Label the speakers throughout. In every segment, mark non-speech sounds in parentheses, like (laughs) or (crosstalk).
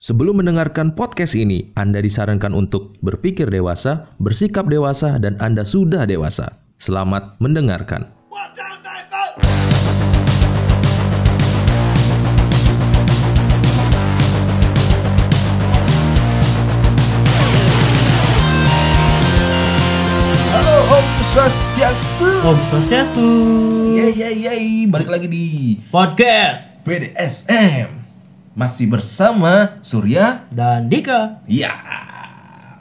Speaker 1: Sebelum mendengarkan podcast ini, Anda disarankan untuk berpikir dewasa, bersikap dewasa, dan Anda sudah dewasa. Selamat mendengarkan.
Speaker 2: Watch out, they vote!
Speaker 3: Halo Om Swastiastu.
Speaker 4: Om Swastiastu
Speaker 3: Yeay yeay yeay, balik lagi di
Speaker 4: Podcast
Speaker 3: BDSM. Masih bersama Surya.
Speaker 4: dan Dika
Speaker 3: Ya.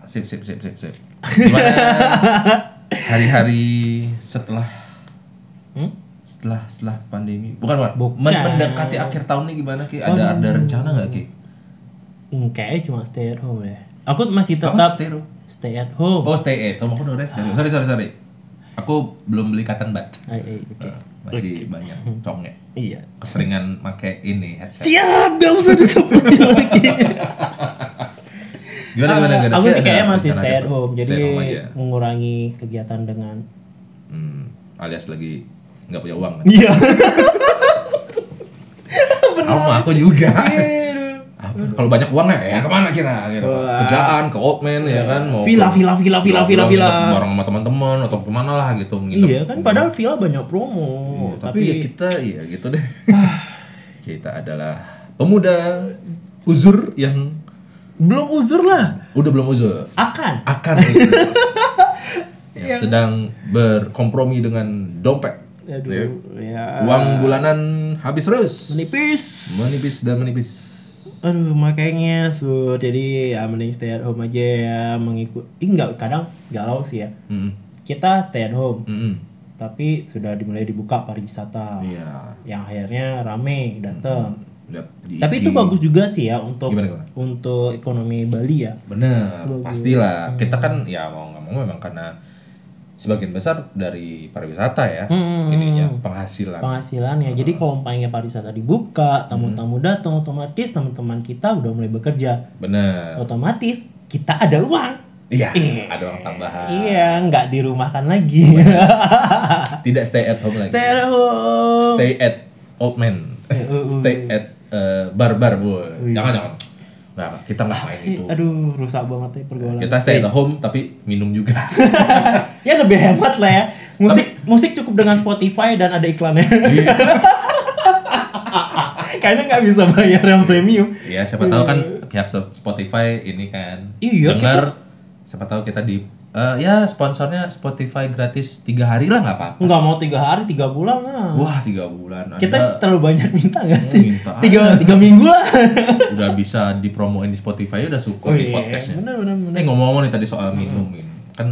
Speaker 3: Sip sip sip sip sip. Gimana hari-hari setelah setelah setelah pandemi bukan bukan, Men-
Speaker 4: Hmm? Bukan.
Speaker 3: mendekati akhir tahun ini gimana ki ada ada rencana nggak ki
Speaker 4: hmm, Kayaknya cuma stay at home ya Aku masih
Speaker 3: Apa?
Speaker 4: tetap
Speaker 3: Stay room?
Speaker 4: stay at home
Speaker 3: oh stay at home aku udah stay at home. sorry sorry sorry aku belum beli cotton bud
Speaker 4: Ay, ay, oke.
Speaker 3: Oh. masih banyak congek
Speaker 4: Iya
Speaker 3: keseringan pakai ini headset
Speaker 4: Siap, gak usah
Speaker 3: (laughs)
Speaker 4: disebutin lagi
Speaker 3: gimana gimana gimana
Speaker 4: Aku
Speaker 3: Ki,
Speaker 4: sih
Speaker 3: ada
Speaker 4: kayaknya masih
Speaker 3: rencana
Speaker 4: stay at
Speaker 3: apa?
Speaker 4: home Jadi
Speaker 3: Stay at home aja.
Speaker 4: mengurangi kegiatan dengan
Speaker 3: hmm, alias lagi nggak punya uang kan?
Speaker 4: Iya
Speaker 3: sama aku juga
Speaker 4: Iya.
Speaker 3: Apa, kalau banyak uang ya, ya kemana kita gitu
Speaker 4: Wah.
Speaker 3: kerjaan ke Oakman ya kan mau
Speaker 4: Villa,
Speaker 3: ke-
Speaker 4: villa, villa, villa, villa,
Speaker 3: nginep
Speaker 4: villa
Speaker 3: bareng sama teman-teman atau kemana lah gitu nginep
Speaker 4: (laughs) Iya kan, padahal villa banyak promo
Speaker 3: Iya, tapi, ya
Speaker 4: Tapi
Speaker 3: kita ya gitu deh (sighs) kita adalah pemuda uzur yang
Speaker 4: belum uzur lah
Speaker 3: udah belum uzur
Speaker 4: Akan
Speaker 3: akan
Speaker 4: (laughs)
Speaker 3: uzur yang sedang berkompromi dengan dompet Ya.
Speaker 4: Aduh, ya
Speaker 3: Uang bulanan habis terus.
Speaker 4: Menipis
Speaker 3: Menipis dan menipis.
Speaker 4: Aduh makanya su jadi ya mending stay at home aja ya mengikut Ih, nggak kadang galau sih ya
Speaker 3: Mm-mm.
Speaker 4: kita stay at home
Speaker 3: Mm-mm.
Speaker 4: tapi sudah dimulai dibuka pariwisata
Speaker 3: Iya.
Speaker 4: yang akhirnya rame datang
Speaker 3: Lihat di
Speaker 4: tapi
Speaker 3: IG.
Speaker 4: itu bagus juga sih ya untuk
Speaker 3: Gimana, gimana?
Speaker 4: untuk ekonomi Bali ya
Speaker 3: Bener,
Speaker 4: Hmm.
Speaker 3: pastilah. Kita kan ya mau nggak mau memang karena sebagian besar dari pariwisata ya,
Speaker 4: Hmm,
Speaker 3: ininya penghasilan. Ah.
Speaker 4: penghasilannya jadi kalau umpamanya pariwisata dibuka
Speaker 3: Hmm.
Speaker 4: tamu-tamu datang otomatis teman-teman kita udah mulai bekerja
Speaker 3: Bener.
Speaker 4: otomatis kita ada uang
Speaker 3: Iya,
Speaker 4: Iya.
Speaker 3: ada uang tambahan.
Speaker 4: iya nggak dirumahkan lagi
Speaker 3: Iya. Tidak stay at home lagi.
Speaker 4: stay at home eh,
Speaker 3: Stay at old man. stay at eh, barbar, bu. Jangan jangan. Nggak, kita nggak main
Speaker 4: Iya. sih
Speaker 3: itu.
Speaker 4: aduh rusak banget ya pergaulan
Speaker 3: Kita stay at home tapi minum
Speaker 4: (laughs)
Speaker 3: juga.
Speaker 4: ya lebih hemat lah ya musik musik cukup dengan Spotify dan ada iklannya (laughs) kayaknya nggak bisa bayar yang premium
Speaker 3: Ya siapa tahu kan pihak so- Spotify ini kan
Speaker 4: Iya,
Speaker 3: dengar siapa tahu kita di eh, ya sponsornya Spotify gratis tiga hari lah nggak apa-apa.
Speaker 4: nggak mau tiga hari tiga bulan lah
Speaker 3: Wah tiga bulan
Speaker 4: Hmm. kita
Speaker 3: Anda
Speaker 4: terlalu banyak minta nggak sih
Speaker 3: Oh, minta
Speaker 4: tiga tiga minggu lah (laughs) Oh,
Speaker 3: udah bisa dipromoin di Spotify udah syukur di podcastnya.
Speaker 4: iya. bener bener bener
Speaker 3: Eh ngomong-ngomong nih tadi soal minum ini. kan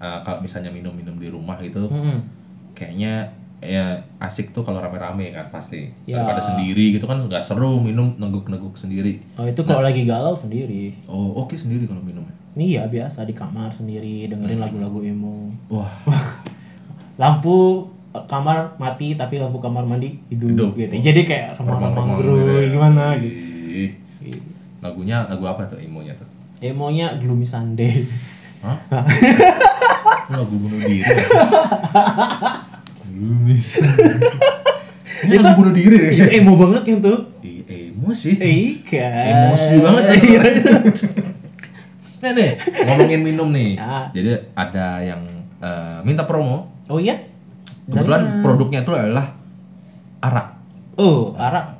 Speaker 3: eh, kalau misalnya minum-minum di rumah gitu
Speaker 4: Hmm.
Speaker 3: kayaknya ya asik tuh kalau rame-rame kan pasti
Speaker 4: Ya.
Speaker 3: daripada sendiri gitu kan nggak seru minum neguk-neguk sendiri.
Speaker 4: oh itu kalau lagi galau sendiri
Speaker 3: Oh oke sendiri kalau minum.
Speaker 4: ini ya biasa di kamar sendiri dengerin
Speaker 3: Hmm.
Speaker 4: lagu-lagu emo
Speaker 3: Wah
Speaker 4: lampu eh, kamar mati tapi lampu kamar mandi hidup,
Speaker 3: Hidup.
Speaker 4: gitu jadi kayak remang-remang
Speaker 3: Remang-remang gitu
Speaker 4: geruy
Speaker 3: ya.
Speaker 4: gimana gitu
Speaker 3: Ih. Lagunya lagu apa tuh imonya tuh?
Speaker 4: Emonya Gloomy Sunday. (laughs)
Speaker 3: Hah? lagu bunuh diri. ya? Lumis. Ini lagu bunuh diri ya?
Speaker 4: Itu emo banget yang tuh.
Speaker 3: Ih, Emo sih.
Speaker 4: Iya.
Speaker 3: Emosi banget ya. Nah nih, ngomongin minum nih.
Speaker 4: Ya.
Speaker 3: Jadi ada yang eh, minta promo.
Speaker 4: Oh iya.
Speaker 3: Kebetulan produknya itu adalah arak.
Speaker 4: Oh, arak.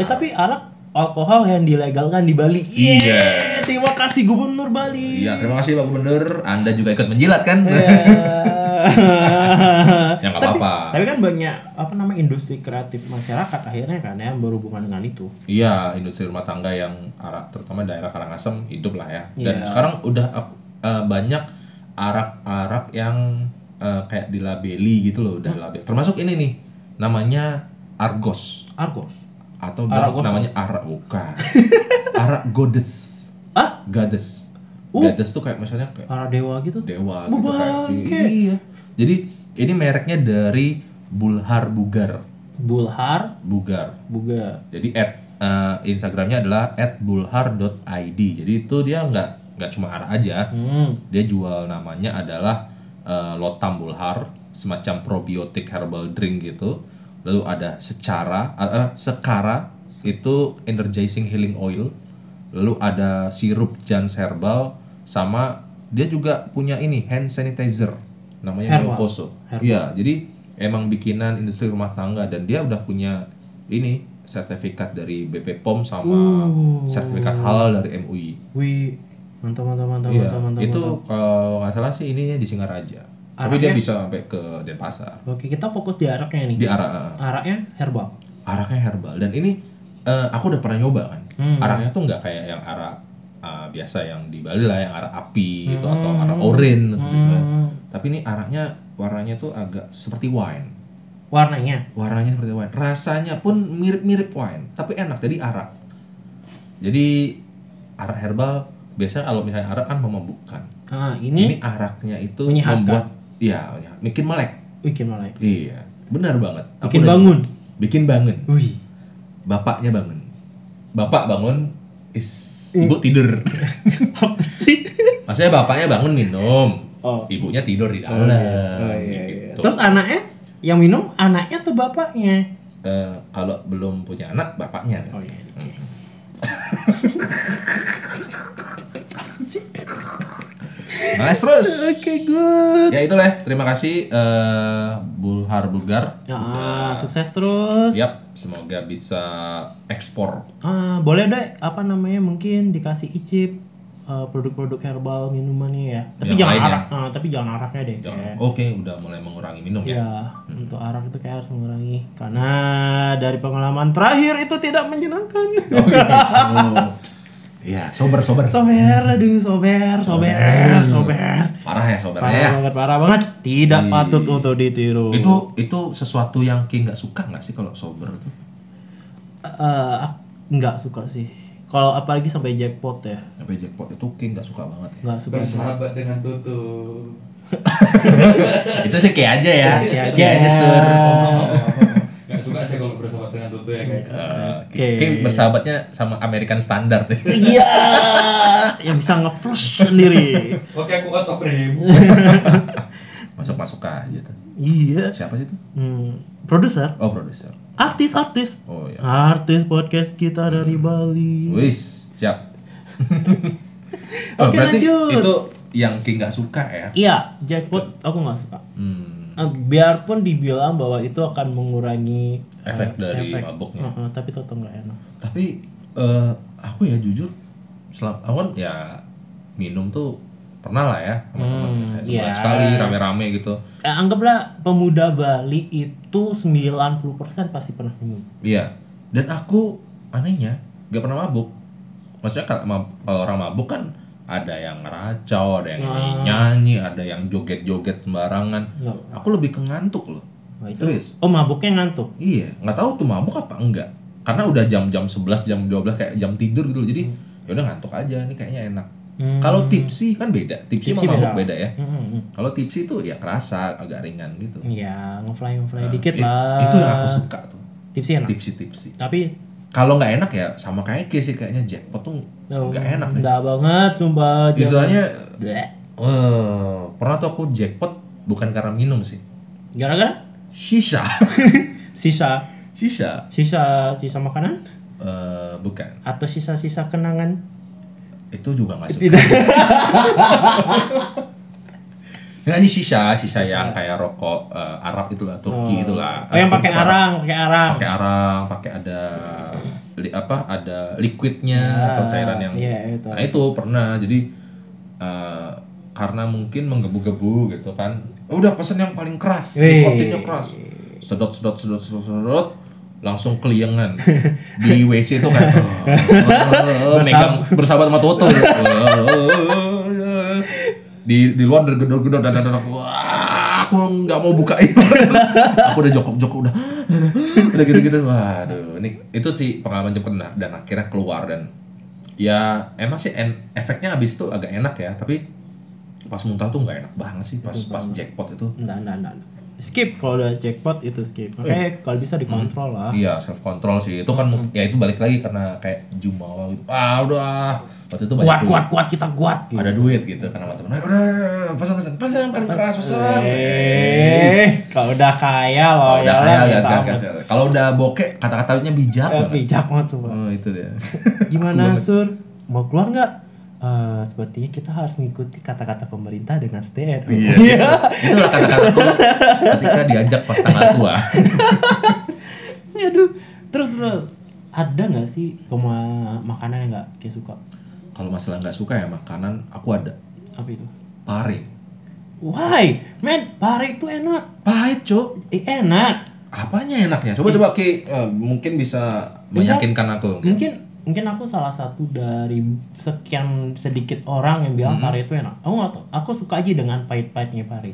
Speaker 4: Eh tapi arak alkohol yang dilegalkan di Bali.
Speaker 3: Iya.
Speaker 4: Yeay, Terima kasih Gubernur Bali.
Speaker 3: Iya, terima kasih Pak Gubernur. Anda juga ikut menjilat kan?
Speaker 4: Iya.
Speaker 3: (laughs) Ya nggak
Speaker 4: tapi,
Speaker 3: apa-apa.
Speaker 4: tapi kan banyak apa nama industri kreatif masyarakat akhirnya kan yang berhubungan dengan itu.
Speaker 3: Iya, industri rumah tangga yang arah terutama daerah Karangasem hidup lah ya. Dan
Speaker 4: Iya.
Speaker 3: sekarang udah ap- eh, banyak arak-arak yang eh, kayak dilabeli gitu loh, udah label. Termasuk ini nih, namanya Argos
Speaker 4: Argos.
Speaker 3: atau enggak,
Speaker 4: Argos.
Speaker 3: namanya arak bukan. arak godes.
Speaker 4: Ah?
Speaker 3: Goddess. Goddess tuh kayak misalnya kayak
Speaker 4: Para dewa gitu.
Speaker 3: dewa
Speaker 4: Oh,
Speaker 3: gitu
Speaker 4: bangke.
Speaker 3: kayak. Iya. Jadi ini mereknya dari Bulhar Bugar.
Speaker 4: Bulhar,
Speaker 3: Bugar.
Speaker 4: Buga.
Speaker 3: jadi at eh, Instagramnya adalah @bulhar.id jadi itu dia nggak nggak cuma arah aja
Speaker 4: Hmm.
Speaker 3: dia jual namanya adalah eh, lotam bulhar semacam probiotik herbal drink gitu lalu ada secara eh, eh, sekara itu energizing healing oil Lalu ada sirup Jans herbal sama dia juga punya ini hand sanitizer namanya
Speaker 4: Herbal.
Speaker 3: Miokoso. Iya, jadi emang bikinan industri rumah tangga dan dia udah punya ini sertifikat dari BP POM sama
Speaker 4: Oh.
Speaker 3: sertifikat halal dari MUI.
Speaker 4: Wih, mantap mantap mantap
Speaker 3: Iya,
Speaker 4: mantap mantap.
Speaker 3: itu kalau nggak salah sih ininya di Singaraja. Tapi dia bisa sampai ke Denpasar.
Speaker 4: Oke, kita fokus di araknya nih.
Speaker 3: Di arah
Speaker 4: Araknya herbal.
Speaker 3: araknya herbal dan ini eh, aku udah pernah nyoba kan araknya tuh nggak kayak yang arak eh, biasa yang di Bali lah yang arak api gitu atau arak oren
Speaker 4: Hmm.
Speaker 3: atau segala. tapi ini araknya warnanya tuh agak seperti wine
Speaker 4: Warnanya.
Speaker 3: warnanya seperti wine rasanya pun mirip-mirip wine tapi enak jadi arak jadi arak herbal biasanya kalau misalnya arak kan memabukkan
Speaker 4: Ah, ini,
Speaker 3: ini araknya itu
Speaker 4: Menyehatkan.
Speaker 3: membuat ya bikin melek
Speaker 4: bikin malah.
Speaker 3: iya benar banget Aku
Speaker 4: Bikin
Speaker 3: udah-
Speaker 4: bangun.
Speaker 3: bikin bangun
Speaker 4: Wih. (laughs)
Speaker 3: bapaknya bangun bapak bangun is ibu
Speaker 4: (laughs)
Speaker 3: tidur
Speaker 4: Apa sih?
Speaker 3: maksudnya bapaknya bangun minum
Speaker 4: Oh.
Speaker 3: ibunya tidur di dalam
Speaker 4: Oh, iya, iya.
Speaker 3: gitu.
Speaker 4: Terus anaknya yang minum anaknya atau bapaknya?
Speaker 3: Eh, kalau belum punya anak bapaknya
Speaker 4: Oh iya. oke.
Speaker 3: nice terus
Speaker 4: iya. Oke, good.
Speaker 3: ya itulah terima kasih eh, Bulhar Bulgar
Speaker 4: Ya, ah, sukses terus.
Speaker 3: Yap, semoga bisa ekspor
Speaker 4: Ah, boleh deh apa namanya mungkin dikasih icip eh, produk-produk herbal minumannya ya. Tapi
Speaker 3: Yang
Speaker 4: jangan
Speaker 3: lain ya.
Speaker 4: arak. Ah, tapi jangan araknya deh.
Speaker 3: Jangan-
Speaker 4: kayak.
Speaker 3: oke udah mulai mengurangi minum ya
Speaker 4: Ya, untuk arak itu kayak harus mengurangi karena dari pengalaman terakhir itu tidak menyenangkan. (laughs)
Speaker 3: oh, iya. Oh. Iya, sober sober
Speaker 4: sober, aduh sober, sober, sober.
Speaker 3: parah ya sober
Speaker 4: Parah
Speaker 3: ya
Speaker 4: banget, parah banget. Tidak
Speaker 3: Iya.
Speaker 4: patut untuk ditiru.
Speaker 3: itu itu sesuatu yang King nggak suka nggak sih kalau sober tuh
Speaker 4: Eh, aku nggak suka sih. Kalau apalagi sampai jackpot ya,
Speaker 3: sampai jackpot itu King nggak suka banget ya.
Speaker 4: nggak suka.
Speaker 2: bersahabat dengan tutu
Speaker 3: itu sih kayak aja ya
Speaker 4: Kayak aja.
Speaker 3: kayak aja tur
Speaker 2: nggak suka saya kalau bersahabat dengan tutu ya guys
Speaker 3: Oke. bersahabatnya sama American Standard ya.
Speaker 4: Iya, (laughs) yang bisa nge-flush sendiri.
Speaker 2: oke aku out of frame
Speaker 3: masuk masuk aja tuh
Speaker 4: Iya.
Speaker 3: siapa sih itu
Speaker 4: Hmm, produser,
Speaker 3: oh produser
Speaker 4: artis-artis.
Speaker 3: oh ya
Speaker 4: Artis podcast kita dari
Speaker 3: Hmm.
Speaker 4: Bali.
Speaker 3: wis siap oh,
Speaker 4: Oke,
Speaker 3: berarti
Speaker 4: lanjut.
Speaker 3: itu yang King nggak suka ya
Speaker 4: Iya, jackpot aku nggak suka.
Speaker 3: hmm,
Speaker 4: Eh, Biarpun dibilang bahwa itu akan mengurangi eh,
Speaker 3: efek dari
Speaker 4: efek.
Speaker 3: mabuknya
Speaker 4: Heeh, tapi tetap nggak enak.
Speaker 3: tapi eh, aku ya jujur selam aku kan ya minum tuh pernah lah ya teman-teman Kayak
Speaker 4: iya.
Speaker 3: sebulan sekali rame-rame gitu
Speaker 4: Eh, anggaplah pemuda Bali itu 90% pasti pernah minum.
Speaker 3: Iya. Dan aku anehnya gak pernah mabuk. Maksudnya kalau ma- kalau orang mabuk kan ada yang ngeracau, ada yang
Speaker 4: Ah.
Speaker 3: nyanyi, ada yang joget-joget sembarangan.
Speaker 4: Nggak.
Speaker 3: Aku lebih ke ngantuk loh.
Speaker 4: Nah, Iya. itu-
Speaker 3: Serius?
Speaker 4: Oh, mabuknya ngantuk.
Speaker 3: Iya, nggak tahu tuh mabuk apa enggak. Karena udah jam-jam 11, jam 12 kayak jam tidur gitu loh. Jadi
Speaker 4: Hmm.
Speaker 3: ya udah ngantuk aja nih kayaknya enak. Kalau tipsi kan beda. Tipsi,
Speaker 4: Tipsy
Speaker 3: sama mabuk beda, ya.
Speaker 4: Hmm,
Speaker 3: Kalau tipsi tuh ya kerasa agak ringan gitu.
Speaker 4: ya ngefly ngefly
Speaker 3: Nah, It-
Speaker 4: dikit lah.
Speaker 3: itu yang aku suka tuh.
Speaker 4: tipsnya enak.
Speaker 3: Tipsi-tipsi.
Speaker 4: Tapi
Speaker 3: kalau nggak enak ya sama kayak Ki sih kayaknya jackpot tuh
Speaker 4: Oh.
Speaker 3: nggak enak deh.
Speaker 4: Enggak banget sumpah. Jangan-
Speaker 3: Istilahnya
Speaker 4: Bleh.
Speaker 3: eh, pernah tuh aku jackpot bukan karena minum sih.
Speaker 4: Gara-gara (laughs)
Speaker 3: (laughs) Sisa.
Speaker 4: sisa
Speaker 3: Sisa.
Speaker 4: sisa sisa makanan
Speaker 3: Eh, bukan.
Speaker 4: atau sisa-sisa kenangan. Gitu.
Speaker 3: Itu juga nggak suka.
Speaker 4: Tidak.
Speaker 3: Nah, ini sisa, sisa yang kayak rokok eh, Arab itu lah, Turki itulah.
Speaker 4: (laughs) Oh, yang
Speaker 3: Eh,
Speaker 4: pakai
Speaker 3: bukan Arab.
Speaker 4: arang, pakai arang.
Speaker 3: Pakai arang, pakai ada li- apa? Ada liquidnya atau cairan yang
Speaker 4: Iya, Ya, itu.
Speaker 3: Nah itu pernah jadi eh, karena mungkin menggebu-gebu gitu kan. "Oh, Udah pesen yang paling keras,
Speaker 4: Wih.
Speaker 3: nikotinnya keras. Sedot sedot sedot sedot sedot langsung keliengan (laughs) di WC itu kayak "Oh, oh, oh," megang bersahabat sama Toto Oh, di di luar gedor-gedor dan dan wah aku nggak mau buka itu (laughs) aku udah jokok-jokok udah (laughs) udah gitu-gitu waduh ini itu sih pengalaman cepet nah, dan akhirnya keluar dan ya emang sih en- efeknya abis itu agak enak ya tapi pas muntah tuh nggak enak banget sih pas pas jackpot itu
Speaker 4: Enggak, enggak, enggak. Skip kalau udah jackpot itu skip. Oke, kalau bisa dikontrol lah.
Speaker 3: Eh. Iya self control sih itu kan
Speaker 4: Hmm.
Speaker 3: mungkin- ya itu balik lagi karena kayak jumawa gitu ah udah waktu itu banyak
Speaker 4: Kuat,
Speaker 3: duit.
Speaker 4: kuat, kuat kita kuat. gitu.
Speaker 3: ada duit gitu karena sama temen "Ayo, udah pesan pesan pesan yang paling keras pesan
Speaker 4: Eh, kalau udah kaya loh
Speaker 3: udah
Speaker 4: ya.
Speaker 3: kaya
Speaker 4: lah,
Speaker 3: gas
Speaker 4: kita
Speaker 3: gas
Speaker 4: amat.
Speaker 3: gas kalau udah bokek kata katanya bijak
Speaker 4: Eh,
Speaker 3: banget
Speaker 4: (laughs) Bijak banget sumpah.
Speaker 3: oh itu dia
Speaker 4: Gimana Sur? mau keluar nggak? Eh, sepertinya kita harus mengikuti kata-kata pemerintah dengan stay at home. (laughs)
Speaker 3: Iya. Itulah kata-kataku ketika diajak pas tanggal tua. (laughs)
Speaker 4: Aduh, Iya, terus lu, ada nggak sih koma makanan yang nggak kayak suka?
Speaker 3: Kalau masalah nggak suka ya makanan, aku ada
Speaker 4: Apa itu?
Speaker 3: pare.
Speaker 4: Why, man, pare itu enak,
Speaker 3: Pahit, Cuk.
Speaker 4: Eh, enak.
Speaker 3: Apanya enaknya? Coba coba Ki, eh, mungkin bisa
Speaker 4: Iya.
Speaker 3: meyakinkan aku.
Speaker 4: Mungkin mungkin aku salah satu dari sekian sedikit orang yang bilang pare itu enak. Aku nggak tahu. Aku suka aja dengan pahit-pahitnya pare.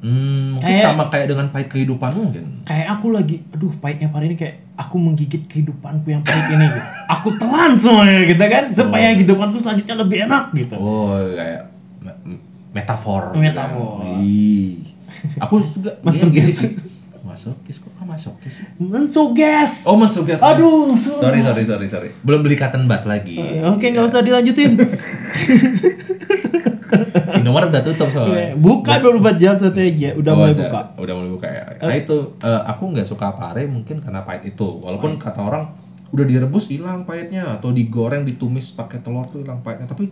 Speaker 3: Hmm, mungkin
Speaker 4: Kayak-
Speaker 3: sama kayak dengan pahit kehidupan mungkin.
Speaker 4: Kayak aku lagi, aduh pahitnya pare ini kayak aku menggigit kehidupanku yang pahit ini. Gitu. Aku telan semuanya gitu kan supaya
Speaker 3: Iya.
Speaker 4: kehidupanku selanjutnya lebih enak gitu.
Speaker 3: Oh, kayak me- me- metafor.
Speaker 4: Metafor.
Speaker 3: gitu kan. Ih. Aku Iya, juga
Speaker 4: (laughs) Masokis.
Speaker 3: Masuk kis kok kamu masuk kis?
Speaker 4: Men suges.
Speaker 3: Oh, masuk ya.
Speaker 4: Aduh, Iya. su-
Speaker 3: Sorry, sorry, sorry, sorry. Belum beli cotton bud lagi. ya.
Speaker 4: Oke, nggak
Speaker 3: (laughs)
Speaker 4: usah dilanjutin.
Speaker 3: Indomaret udah
Speaker 4: Iya.
Speaker 3: tutup soalnya.
Speaker 4: buka 24 jam satu aja, udah
Speaker 3: Oh,
Speaker 4: mulai
Speaker 3: udah-
Speaker 4: buka.
Speaker 3: Udah mulai buka ya. Nah itu eh, aku nggak suka pare mungkin karena pahit itu. Walaupun kata orang udah direbus hilang pahitnya atau digoreng ditumis pakai telur tuh hilang pahitnya tapi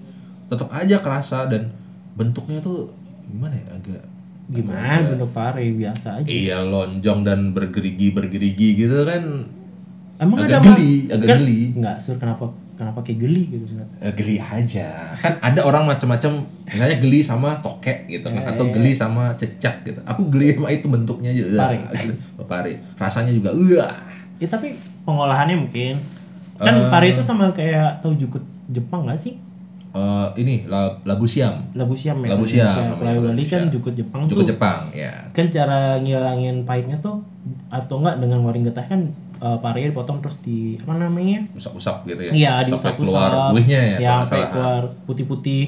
Speaker 3: tetap aja kerasa dan bentuknya tuh gimana ya agak
Speaker 4: Gimana bentuk pare biasa aja.
Speaker 3: iya lonjong dan bergerigi bergerigi gitu kan
Speaker 4: Emang
Speaker 3: agak
Speaker 4: ada ma-
Speaker 3: geli, agak
Speaker 4: Ken-
Speaker 3: geli.
Speaker 4: Nggak, sur kenapa kenapa kayak geli gitu Sur?
Speaker 3: Eh, geli aja kan ada orang macam-macam misalnya geli sama tokek gitu kan
Speaker 4: Iya,
Speaker 3: atau geli sama cecak gitu aku geli sama itu bentuknya aja Uah,
Speaker 4: Pare.
Speaker 3: gitu. pare rasanya juga uah
Speaker 4: Ya tapi pengolahannya mungkin kan pare itu sama kayak tahu jukut Jepang nggak sih?
Speaker 3: Eh, ini la- labu siam
Speaker 4: Labu siam ya.
Speaker 3: Labu siam, namanya
Speaker 4: Kalau
Speaker 3: labu
Speaker 4: Bali kan
Speaker 3: siam.
Speaker 4: jukut Jepang
Speaker 3: cukup
Speaker 4: tuh.
Speaker 3: Jepang ya
Speaker 4: Kan cara ngilangin pahitnya tuh atau enggak dengan waring getah kan eh, parenya dipotong terus di apa namanya?
Speaker 3: usap-usap gitu ya
Speaker 4: Iya
Speaker 3: sampai
Speaker 4: diusap-usap Iya,
Speaker 3: keluar buihnya ya, kalau nggak
Speaker 4: sampai
Speaker 3: salah. Mm-hmm.
Speaker 4: keluar putih-putih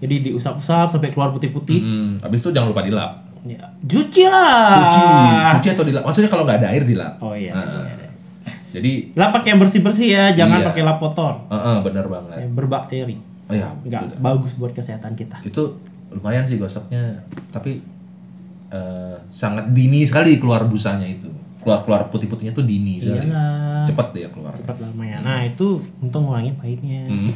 Speaker 4: Jadi diusap-usap sampai keluar putih-putih
Speaker 3: Hmm, habis itu jangan lupa dilap
Speaker 4: ya, Cuci lah
Speaker 3: Mm-hmm. cuci cuci atau dilap maksudnya kalau nggak ada air dilap
Speaker 4: Ah. Oh iya
Speaker 3: Nah, jadi
Speaker 4: Lap pakai yang bersih-bersih ya Jangan
Speaker 3: Iya.
Speaker 4: pakai lap kotor
Speaker 3: eh, eh, benar banget
Speaker 4: Yang Berbakteri
Speaker 3: oh, ya
Speaker 4: Enggak bagus buat kesehatan kita
Speaker 3: itu lumayan sih gosoknya tapi eh, sangat dini sekali keluar busanya itu keluar keluar putih putihnya tuh
Speaker 4: Iya.
Speaker 3: dini sekali
Speaker 4: Iyalah
Speaker 3: cepet dia keluar
Speaker 4: Nah, Cepat lamanya Nah itu untuk ngurangin pahitnya
Speaker 3: Mm-hmm.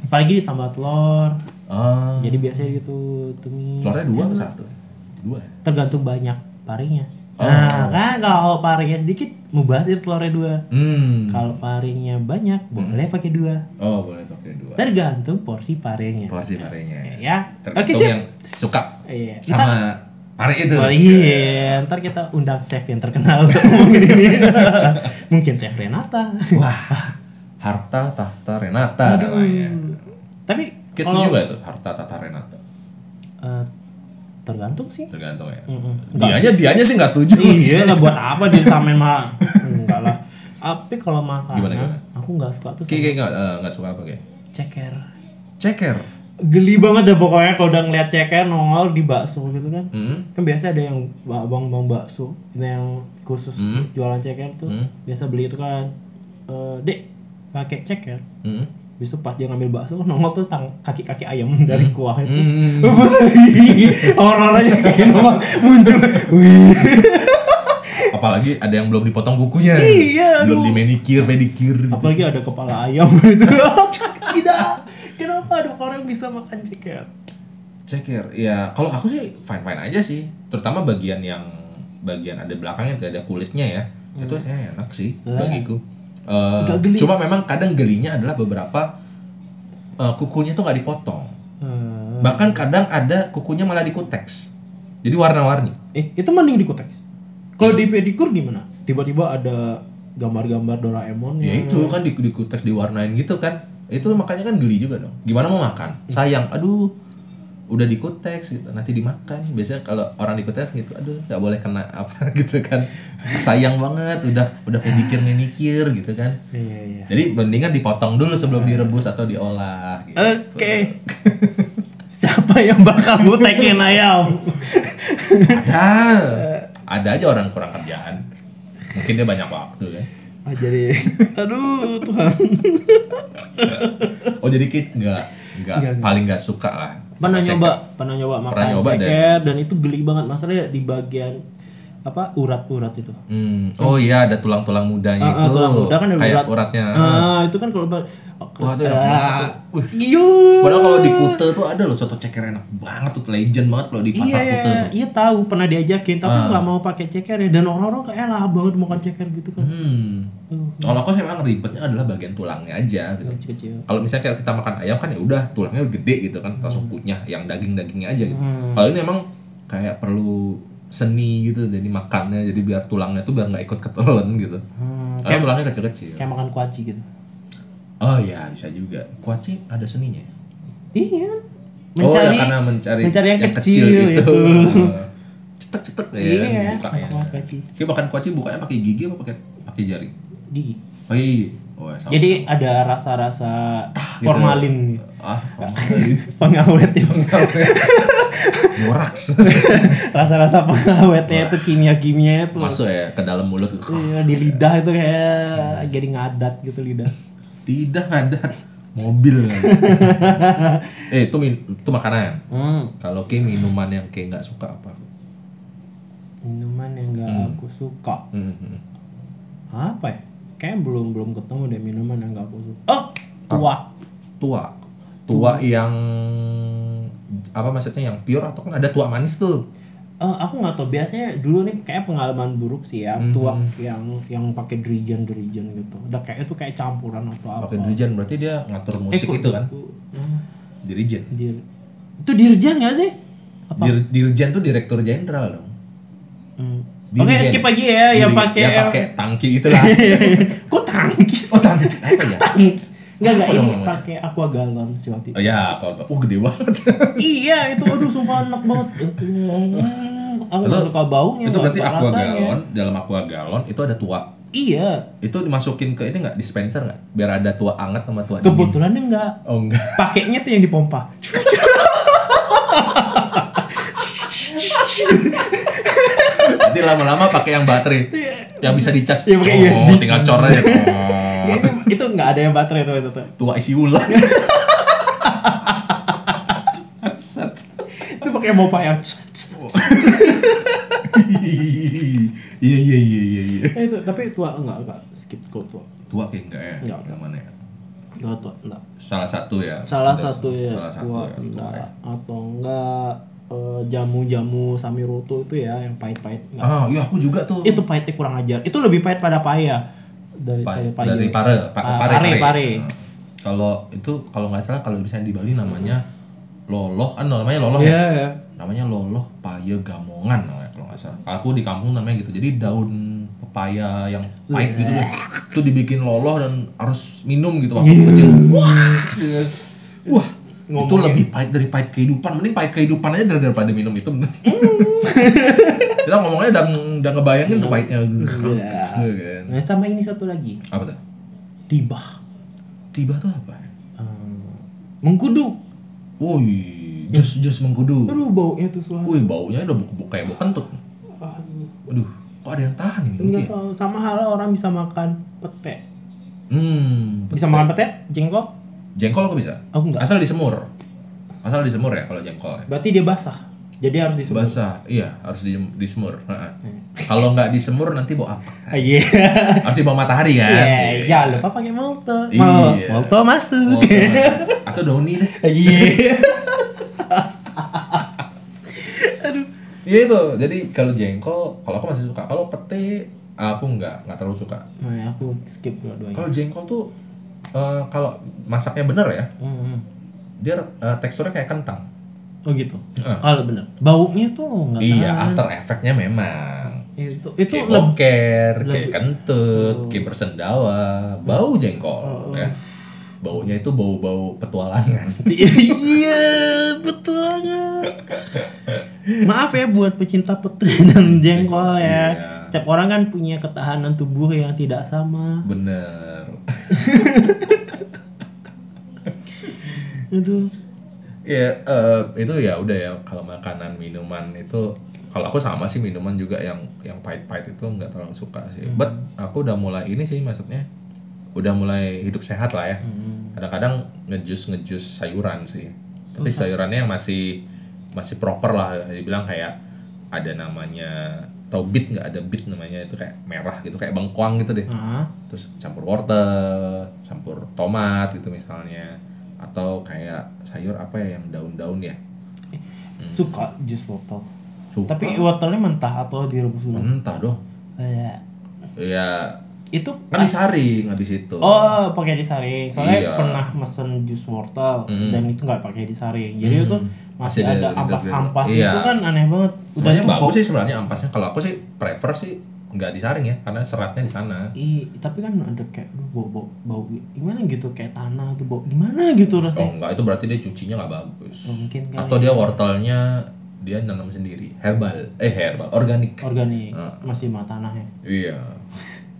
Speaker 4: Apalagi ditambah telur
Speaker 3: ah
Speaker 4: Jadi biasanya gitu tumis
Speaker 3: keluarnya dua
Speaker 4: iya.
Speaker 3: apa satu dua ya?
Speaker 4: Tergantung banyak parinya
Speaker 3: Oh.
Speaker 4: Nah kan kalau parinya sedikit Mubazir telurnya dua
Speaker 3: hmm
Speaker 4: Kalau parinya banyak boleh pakai dua
Speaker 3: oh boleh pakai dua
Speaker 4: Tergantung porsi parenya.
Speaker 3: porsi parenya
Speaker 4: Ya. Oke
Speaker 3: tergantung
Speaker 4: sip.
Speaker 3: yang suka
Speaker 4: Iya. Kita
Speaker 3: sama gitu. pare itu
Speaker 4: Oh, iya, ntar kita undang chef yang terkenal untuk ngomongin
Speaker 3: (laughs)
Speaker 4: ini. Mungkin chef Renata.
Speaker 3: wah harta tahta Renata namanya
Speaker 4: Tapi
Speaker 3: Kis setuju nggak tuh harta tahta Renata
Speaker 4: eh, tergantung sih.
Speaker 3: tergantung ya dianya dianya sih nggak setuju
Speaker 4: Mhm. iya, lah buat apa dia samain mah? Enggak lah. Tapi kalau makanan,
Speaker 3: Gimana, gimana?
Speaker 4: aku nggak suka tuh sama
Speaker 3: kayak nggak eh, nggak suka apa kayak
Speaker 4: ceker.
Speaker 3: ceker
Speaker 4: Geli banget dah pokoknya kalau udah ngeliat ceker nongol di bakso gitu kan.
Speaker 3: Hmm.
Speaker 4: Kan biasa ada yang abang-abang bakso yang khusus jualan ceker tuh. Biasa beli itu kan. eh Dek, pakai ceker.
Speaker 3: Hmm.
Speaker 4: Habis itu pas dia ngambil bakso nongol tuh tang kaki-kaki ayam (laughs) dari Oh, kuah itu. (laughs) Orang-orangnya kayak nongol muncul. Wih.
Speaker 3: apalagi ada yang belum dipotong kukunya
Speaker 4: Iya,
Speaker 3: belum di manicure pedicure gitu.
Speaker 4: Apalagi ada kepala ayam (laughs) itu. Tidak. Kenapa ada orang bisa makan ceker?
Speaker 3: ceker ya kalau aku sih fine fine aja sih terutama bagian yang bagian ada belakangnya tuh ada kulitnya ya itu saya enak sih bagiku Eh,
Speaker 4: Nggak Hmm. geli.
Speaker 3: cuma memang kadang gelinya adalah beberapa eh, kukunya tuh nggak dipotong
Speaker 4: Hmm.
Speaker 3: bahkan kadang ada kukunya malah dikuteks jadi warna-warni
Speaker 4: Eh, itu mending di kuteks. Kalau di pedikur gimana? Tiba-tiba ada gambar-gambar Doraemon
Speaker 3: ya itu kan di, dikuteks diwarnain gitu kan itu makanya kan geli juga dong gimana mau makan sayang aduh udah dikuteks gitu nanti dimakan biasanya kalau orang dikuteks gitu aduh nggak boleh kena apa (laughs) gitu kan sayang banget udah udah pedikir manicure gitu kan
Speaker 4: Iya, iya.
Speaker 3: jadi mendingan dipotong dulu sebelum direbus atau diolah gitu.
Speaker 4: Oke. (laughs) Siapa yang bakal mutekin ayam?
Speaker 3: (laughs) ada ada aja orang kurang kerjaan mungkin dia banyak waktu ya
Speaker 4: Ah, jadi aduh Tuhan.
Speaker 3: oh jadi kit nggak
Speaker 4: Nggak,
Speaker 3: nggak paling nggak suka lah sama
Speaker 4: Pernah
Speaker 3: ceker.
Speaker 4: nyoba, pernah nyoba makan
Speaker 3: nyoba
Speaker 4: ceker dan... itu geli banget masalahnya di bagian apa urat-urat itu.
Speaker 3: Hmm. Oh iya ada tulang-tulang mudanya
Speaker 4: Ah, ah,
Speaker 3: itu.
Speaker 4: tulang muda kan ada
Speaker 3: kayak
Speaker 4: urat.
Speaker 3: uratnya.
Speaker 4: Ah, itu kan kalau ba-
Speaker 3: Wah, itu enak
Speaker 4: Ah,
Speaker 3: banget tuh. Wih.
Speaker 4: Iyo.
Speaker 3: Padahal kalau di Kute tuh ada loh soto ceker enak banget tuh legend banget kalau di
Speaker 4: Iya,
Speaker 3: pasar
Speaker 4: iya,
Speaker 3: Kute.
Speaker 4: iya tahu pernah diajakin tapi
Speaker 3: Ah.
Speaker 4: nggak mau pakai ceker ya dan orang-orang kayak lah banget makan ceker gitu kan
Speaker 3: Hmm. Kalau aku sih memang ribetnya adalah bagian tulangnya aja gitu.
Speaker 4: kecil-kecil.
Speaker 3: Kalau misalnya kayak kita makan ayam kan ya udah tulangnya gede gitu kan langsung kunyah yang daging-dagingnya aja gitu.
Speaker 4: Hmm.
Speaker 3: Kalau ini emang kayak perlu seni gitu jadi makannya jadi biar tulangnya tuh biar nggak ikut ketelan gitu. Karena tulangnya kecil-kecil.
Speaker 4: Hmm. Kayak makan kuaci gitu.
Speaker 3: Oh iya bisa juga. Kuaci ada seninya. ya?
Speaker 4: Iya.
Speaker 3: Oh
Speaker 4: Mencari
Speaker 3: ya karena mencari,
Speaker 4: mencari yang, kecil,
Speaker 3: itu.
Speaker 4: gitu. (laughs)
Speaker 3: Cetek-cetek ya
Speaker 4: Iya,
Speaker 3: bukanya.
Speaker 4: makan kuaci.
Speaker 3: Kita makan kuaci bukanya pakai gigi apa pakai pakai jari?
Speaker 4: Gigi.
Speaker 3: Pakai gigi. Oh, ya, sama.
Speaker 4: Jadi ada rasa-rasa
Speaker 3: gitu.
Speaker 4: formalin gitu.
Speaker 3: ah,
Speaker 4: (laughs)
Speaker 3: formalin.
Speaker 4: pengawet
Speaker 3: (laughs)
Speaker 4: itu. (laughs)
Speaker 3: Boraks.
Speaker 4: rasa-rasa pengawetnya itu kimia-kimia itu.
Speaker 3: Masuk ya ke dalam mulut itu.
Speaker 4: Iya, di lidah itu kayak jadi ngadat gitu lidah.
Speaker 3: Tidak ada
Speaker 4: (laughs)
Speaker 3: mobil. eh, itu min itu makanan.
Speaker 4: Hmm.
Speaker 3: Kalau kayak minuman yang kayak nggak suka apa?
Speaker 4: Minuman yang gak aku suka.
Speaker 3: Hmm, hmm.
Speaker 4: apa ya? Kayak belum belum ketemu deh minuman yang gak aku suka. Oh, tuak.
Speaker 3: Tua. Tua yang apa maksudnya yang pure atau kan ada tua manis tuh.
Speaker 4: Eh, aku nggak tau biasanya dulu nih kayak pengalaman buruk sih ya
Speaker 3: Mhm.
Speaker 4: tuak yang yang pakai dirijen dirijen gitu. Udah kayak itu kayak campuran atau apa?
Speaker 3: Pakai dirijen berarti dia ngatur musik
Speaker 4: Oh. Eh, kok-
Speaker 3: itu kan.
Speaker 4: Nah,
Speaker 3: Dirijen.
Speaker 4: dir- itu dirjen gak sih? Apa?
Speaker 3: Dir- dirjen tuh direktur jenderal dong.
Speaker 4: Hmm.
Speaker 3: Dirijen.
Speaker 4: Oke skip aja ya yang
Speaker 3: Diri-
Speaker 4: pakai.
Speaker 3: yang pakai tangki itulah.
Speaker 4: (laughs) Kok tangkis?
Speaker 3: oh, tangki apa ya?
Speaker 4: Enggak enggak
Speaker 3: Apa dong
Speaker 4: ini
Speaker 3: namanya?
Speaker 4: pakai aqua galon sih waktu itu.
Speaker 3: Oh ya, kalau oh, gede banget.
Speaker 4: iya itu aduh sumpah enak
Speaker 3: (laughs)
Speaker 4: banget. aku gak
Speaker 3: Itu-
Speaker 4: suka baunya.
Speaker 3: itu
Speaker 4: nggak
Speaker 3: berarti
Speaker 4: suka
Speaker 3: aqua
Speaker 4: rasanya.
Speaker 3: galon, dalam aqua galon itu ada tua.
Speaker 4: Iya,
Speaker 3: Itu dimasukin ke ini nggak dispenser nggak? Biar ada tua anget sama tua dingin.
Speaker 4: kebetulan dia enggak.
Speaker 3: Oh enggak.
Speaker 4: Pakainya tuh yang dipompa.
Speaker 3: Nanti lama-lama pakai yang baterai. yang bisa dicas.
Speaker 4: Iya, pakai
Speaker 3: Oh,
Speaker 4: USB.
Speaker 3: tinggal cor
Speaker 4: (laughs)
Speaker 3: aja. Oh.
Speaker 4: itu itu enggak ada yang baterai tuh itu tuh.
Speaker 3: tua isi ulang.
Speaker 4: Iya. Itu pakai pompa yang
Speaker 3: Iya iya iya iya iya.
Speaker 4: Eh, itu tapi tua enggak enggak skip kok tua.
Speaker 3: Tua kayak enggak ya?
Speaker 4: Enggak.
Speaker 3: Yang mana ya?
Speaker 4: Enggak tua enggak.
Speaker 3: Salah satu ya.
Speaker 4: Salah
Speaker 3: Ada-
Speaker 4: satu ya
Speaker 3: Salah satu
Speaker 4: tua
Speaker 3: ya.
Speaker 4: enggak atau enggak eh, jamu-jamu samiroto itu ya yang pahit-pahit enggak.
Speaker 3: Ah, iya aku juga tuh.
Speaker 4: Itu pahitnya kurang ajar. Itu lebih pahit pada paya dari
Speaker 3: Pa-
Speaker 4: saya paya.
Speaker 3: dari pare, pa-
Speaker 4: Ah,
Speaker 3: pare,
Speaker 4: pare,
Speaker 3: pare.
Speaker 4: pare.
Speaker 3: Nah, Kalau itu kalau nggak salah kalau misalnya di Bali namanya
Speaker 4: Hmm.
Speaker 3: loloh kan namanya loloh
Speaker 4: Iya.
Speaker 3: ya. Namanya loloh paye gamongan namanya kalau nggak salah. Aku di kampung namanya gitu. Jadi daun pepaya yang pahit gitu deh. Itu dibikin loloh dan harus minum gitu waktu kecil. Wah. Wah. Itu lebih pahit dari pahit kehidupan. Mending pahit kehidupan aja dar- daripada minum itu. Kita ngomongnya udah udah ngebayangin tuh pahitnya. Gitu kan.
Speaker 4: Nah, sama ini satu lagi.
Speaker 3: Apa tuh?
Speaker 4: Tibah.
Speaker 3: Tiba tuh apa? ya?
Speaker 4: Eh, mengkudu.
Speaker 3: Woi, jus jus mengkudu.
Speaker 4: Aduh baunya tuh suara.
Speaker 3: Woi, baunya udah buk kayak bau kentut. Aduh, kok ada yang tahan ini? ya?
Speaker 4: Enggak
Speaker 3: Dengki?
Speaker 4: tahu. Sama halnya orang bisa makan pete.
Speaker 3: Hmm,
Speaker 4: Bisa makan pete? Jengkol?
Speaker 3: jengkol aku bisa.
Speaker 4: Aku enggak.
Speaker 3: Asal disemur. Asal disemur ya kalau jengkol. ya.
Speaker 4: Berarti dia basah. Jadi harus disebut.
Speaker 3: Basah, iya harus di, disemur. Ha-ha. Kalau nggak disemur nanti bau apa?
Speaker 4: Iya.
Speaker 3: Harus di bawah matahari kan?
Speaker 4: Iya, jangan lupa pakai malto.
Speaker 3: Iya.
Speaker 4: Mal- Malto
Speaker 3: Oh,
Speaker 4: masuk.
Speaker 3: kan. Atau dauni deh.
Speaker 4: (laughs) Iya.
Speaker 3: (laughs) Iya itu. Jadi kalau jengkol, kalau aku masih suka. Kalau pete, aku nggak nggak terlalu suka.
Speaker 4: Nah, aku skip dua-duanya.
Speaker 3: Kalau jengkol tuh eh, kalau masaknya bener ya,
Speaker 4: Hmm, hmm.
Speaker 3: dia eh, teksturnya kayak kentang.
Speaker 4: Oh gitu.
Speaker 3: Eh.
Speaker 4: Kalau bener. Baunya tuh enggak
Speaker 3: Iya, after effectnya memang.
Speaker 4: Itu Ah. itu
Speaker 3: Kayak
Speaker 4: lebih
Speaker 3: boker, kayak kentut, kayak bersendawa, bau jengkol ya. Baunya itu bau-bau petualangan.
Speaker 4: (laughs) iya betul banget. Maaf ya buat pecinta pete dan jengkol ya. Setiap orang kan punya ketahanan tubuh yang tidak sama.
Speaker 3: Bener.
Speaker 4: Itu
Speaker 3: Ya, eh, itu ya udah ya kalau makanan minuman itu kalau aku sama sih minuman juga yang yang pahit-pahit itu nggak terlalu suka sih. But aku udah mulai ini sih maksudnya udah mulai hidup sehat lah ya. Kadang-kadang ngejus ngejus sayuran sih. Tapi sayurannya yang masih masih proper lah dibilang kayak ada namanya Tahu beet nggak ada beet namanya itu kayak merah gitu kayak bengkoang gitu deh.
Speaker 4: Hah?
Speaker 3: Terus campur wortel, campur tomat gitu misalnya atau kayak sayur apa ya yang daun-daun ya.
Speaker 4: suka jus wortel
Speaker 3: Suka.
Speaker 4: tapi wortelnya mentah atau direbus dulu
Speaker 3: Entah dong.
Speaker 4: Iya.
Speaker 3: Ya
Speaker 4: itu
Speaker 3: kan disaring habis itu.
Speaker 4: oh pakai disaring soalnya
Speaker 3: Iya.
Speaker 4: pernah mesen jus wortel dan itu nggak pakai disaring jadi itu
Speaker 3: Masih
Speaker 4: masih ada
Speaker 3: ada-
Speaker 4: ampas-ampas
Speaker 3: ada- iya.
Speaker 4: itu kan aneh banget udah
Speaker 3: Sebenarnya
Speaker 4: tuh
Speaker 3: bagus sih sebenarnya ampasnya. Kalau aku sih prefer sih nggak disaring ya karena seratnya di sana.
Speaker 4: Ih, tapi kan ada kayak aduh, bau bau bau gimana gitu kayak tanah tuh bau gimana
Speaker 3: Oh
Speaker 4: gitu rasanya Oh,
Speaker 3: enggak itu berarti dia cucinya nggak bagus.
Speaker 4: Mungkin kan kali
Speaker 3: Atau dia wortelnya dia nanam sendiri herbal eh herbal organik.
Speaker 4: organik
Speaker 3: Ah.
Speaker 4: masih ya. mah tanahnya
Speaker 3: Iya.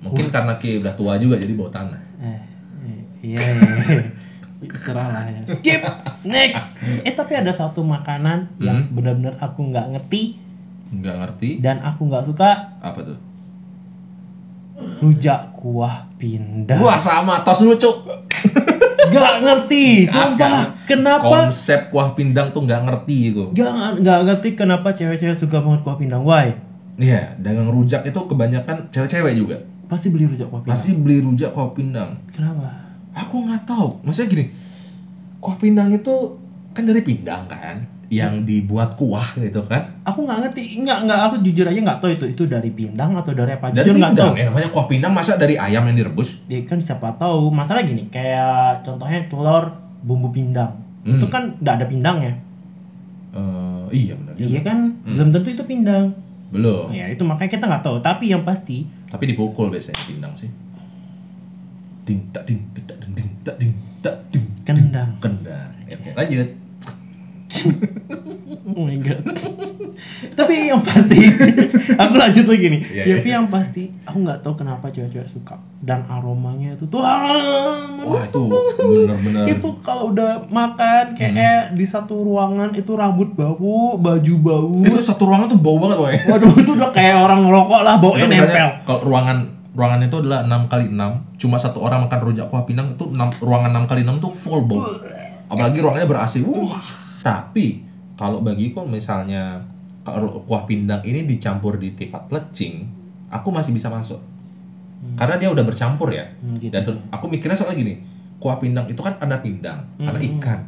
Speaker 3: Mungkin karena Ki udah tua juga jadi bau tanah.
Speaker 4: eh, eh, iya iya serah lah ya skip next eh tapi ada satu makanan yang
Speaker 3: Hmm.
Speaker 4: benar-benar aku nggak ngerti
Speaker 3: Nggak ngerti
Speaker 4: dan aku nggak suka
Speaker 3: apa tuh?
Speaker 4: rujak kuah pindah
Speaker 3: Wah sama tos lucu.
Speaker 4: nggak ngerti sumpah kenapa
Speaker 3: Konsep kuah pindang tuh nggak ngerti gitu. gue.
Speaker 4: nggak nggak ngerti kenapa cewek-cewek suka banget kuah pindang why
Speaker 3: Iya, dagang rujak itu kebanyakan cewek-cewek juga.
Speaker 4: pasti beli rujak kuah pindang
Speaker 3: Pasti beli rujak kuah pindang.
Speaker 4: kenapa
Speaker 3: aku nggak tahu maksudnya gini kuah pindang itu kan dari pindang kan yang dibuat kuah gitu kan
Speaker 4: aku nggak ngerti nggak nggak aku jujur aja nggak tahu itu itu dari pindang atau dari apa
Speaker 3: dari
Speaker 4: Ah, jujur nggak tahu
Speaker 3: pindang ya namanya kuah pindang masa dari ayam yang direbus
Speaker 4: ya kan siapa tahu masalah gini kayak contohnya telur bumbu pindang itu kan nggak ada pindangnya
Speaker 3: Eh, iya Oh. benar
Speaker 4: ya iya kan belum tentu itu pindang
Speaker 3: belum
Speaker 4: ya itu makanya kita nggak tahu tapi yang pasti
Speaker 3: tapi dipukul biasanya pindang sih ding tak ding tak ding ding tak ding tak ding
Speaker 4: kendang
Speaker 3: (laughs) kendang Ya, oke lanjut
Speaker 4: oh my god (laughs) tapi yang pasti (laughs) aku lanjut lagi nih tapi yang pasti aku nggak tahu kenapa cewek-cewek suka dan aromanya itu tuh ah,
Speaker 3: wah
Speaker 4: (laughs)
Speaker 3: itu benar-benar
Speaker 4: itu kalau udah makan kayak di satu ruangan itu rambut bau baju bau
Speaker 3: itu satu ruangan tuh bau banget woy
Speaker 4: waduh itu udah kayak orang ngerokok lah baunya
Speaker 3: Itu
Speaker 4: nempel
Speaker 3: misalnya kalau ruangan ruangan itu adalah 6 kali 6 cuma satu orang makan rujak kuah pinang itu 6, ruangan 6 kali 6 tuh full bau apalagi ruangannya ber-AC Wah. tapi kalau bagiku misalnya kalau kuah pindang ini dicampur di tipat pelecing aku masih bisa masuk karena dia udah bercampur ya
Speaker 4: Hmm. gitu.
Speaker 3: dan ter- aku mikirnya soalnya gini kuah pindang itu kan ada pindang ada
Speaker 4: Hmm.
Speaker 3: ikan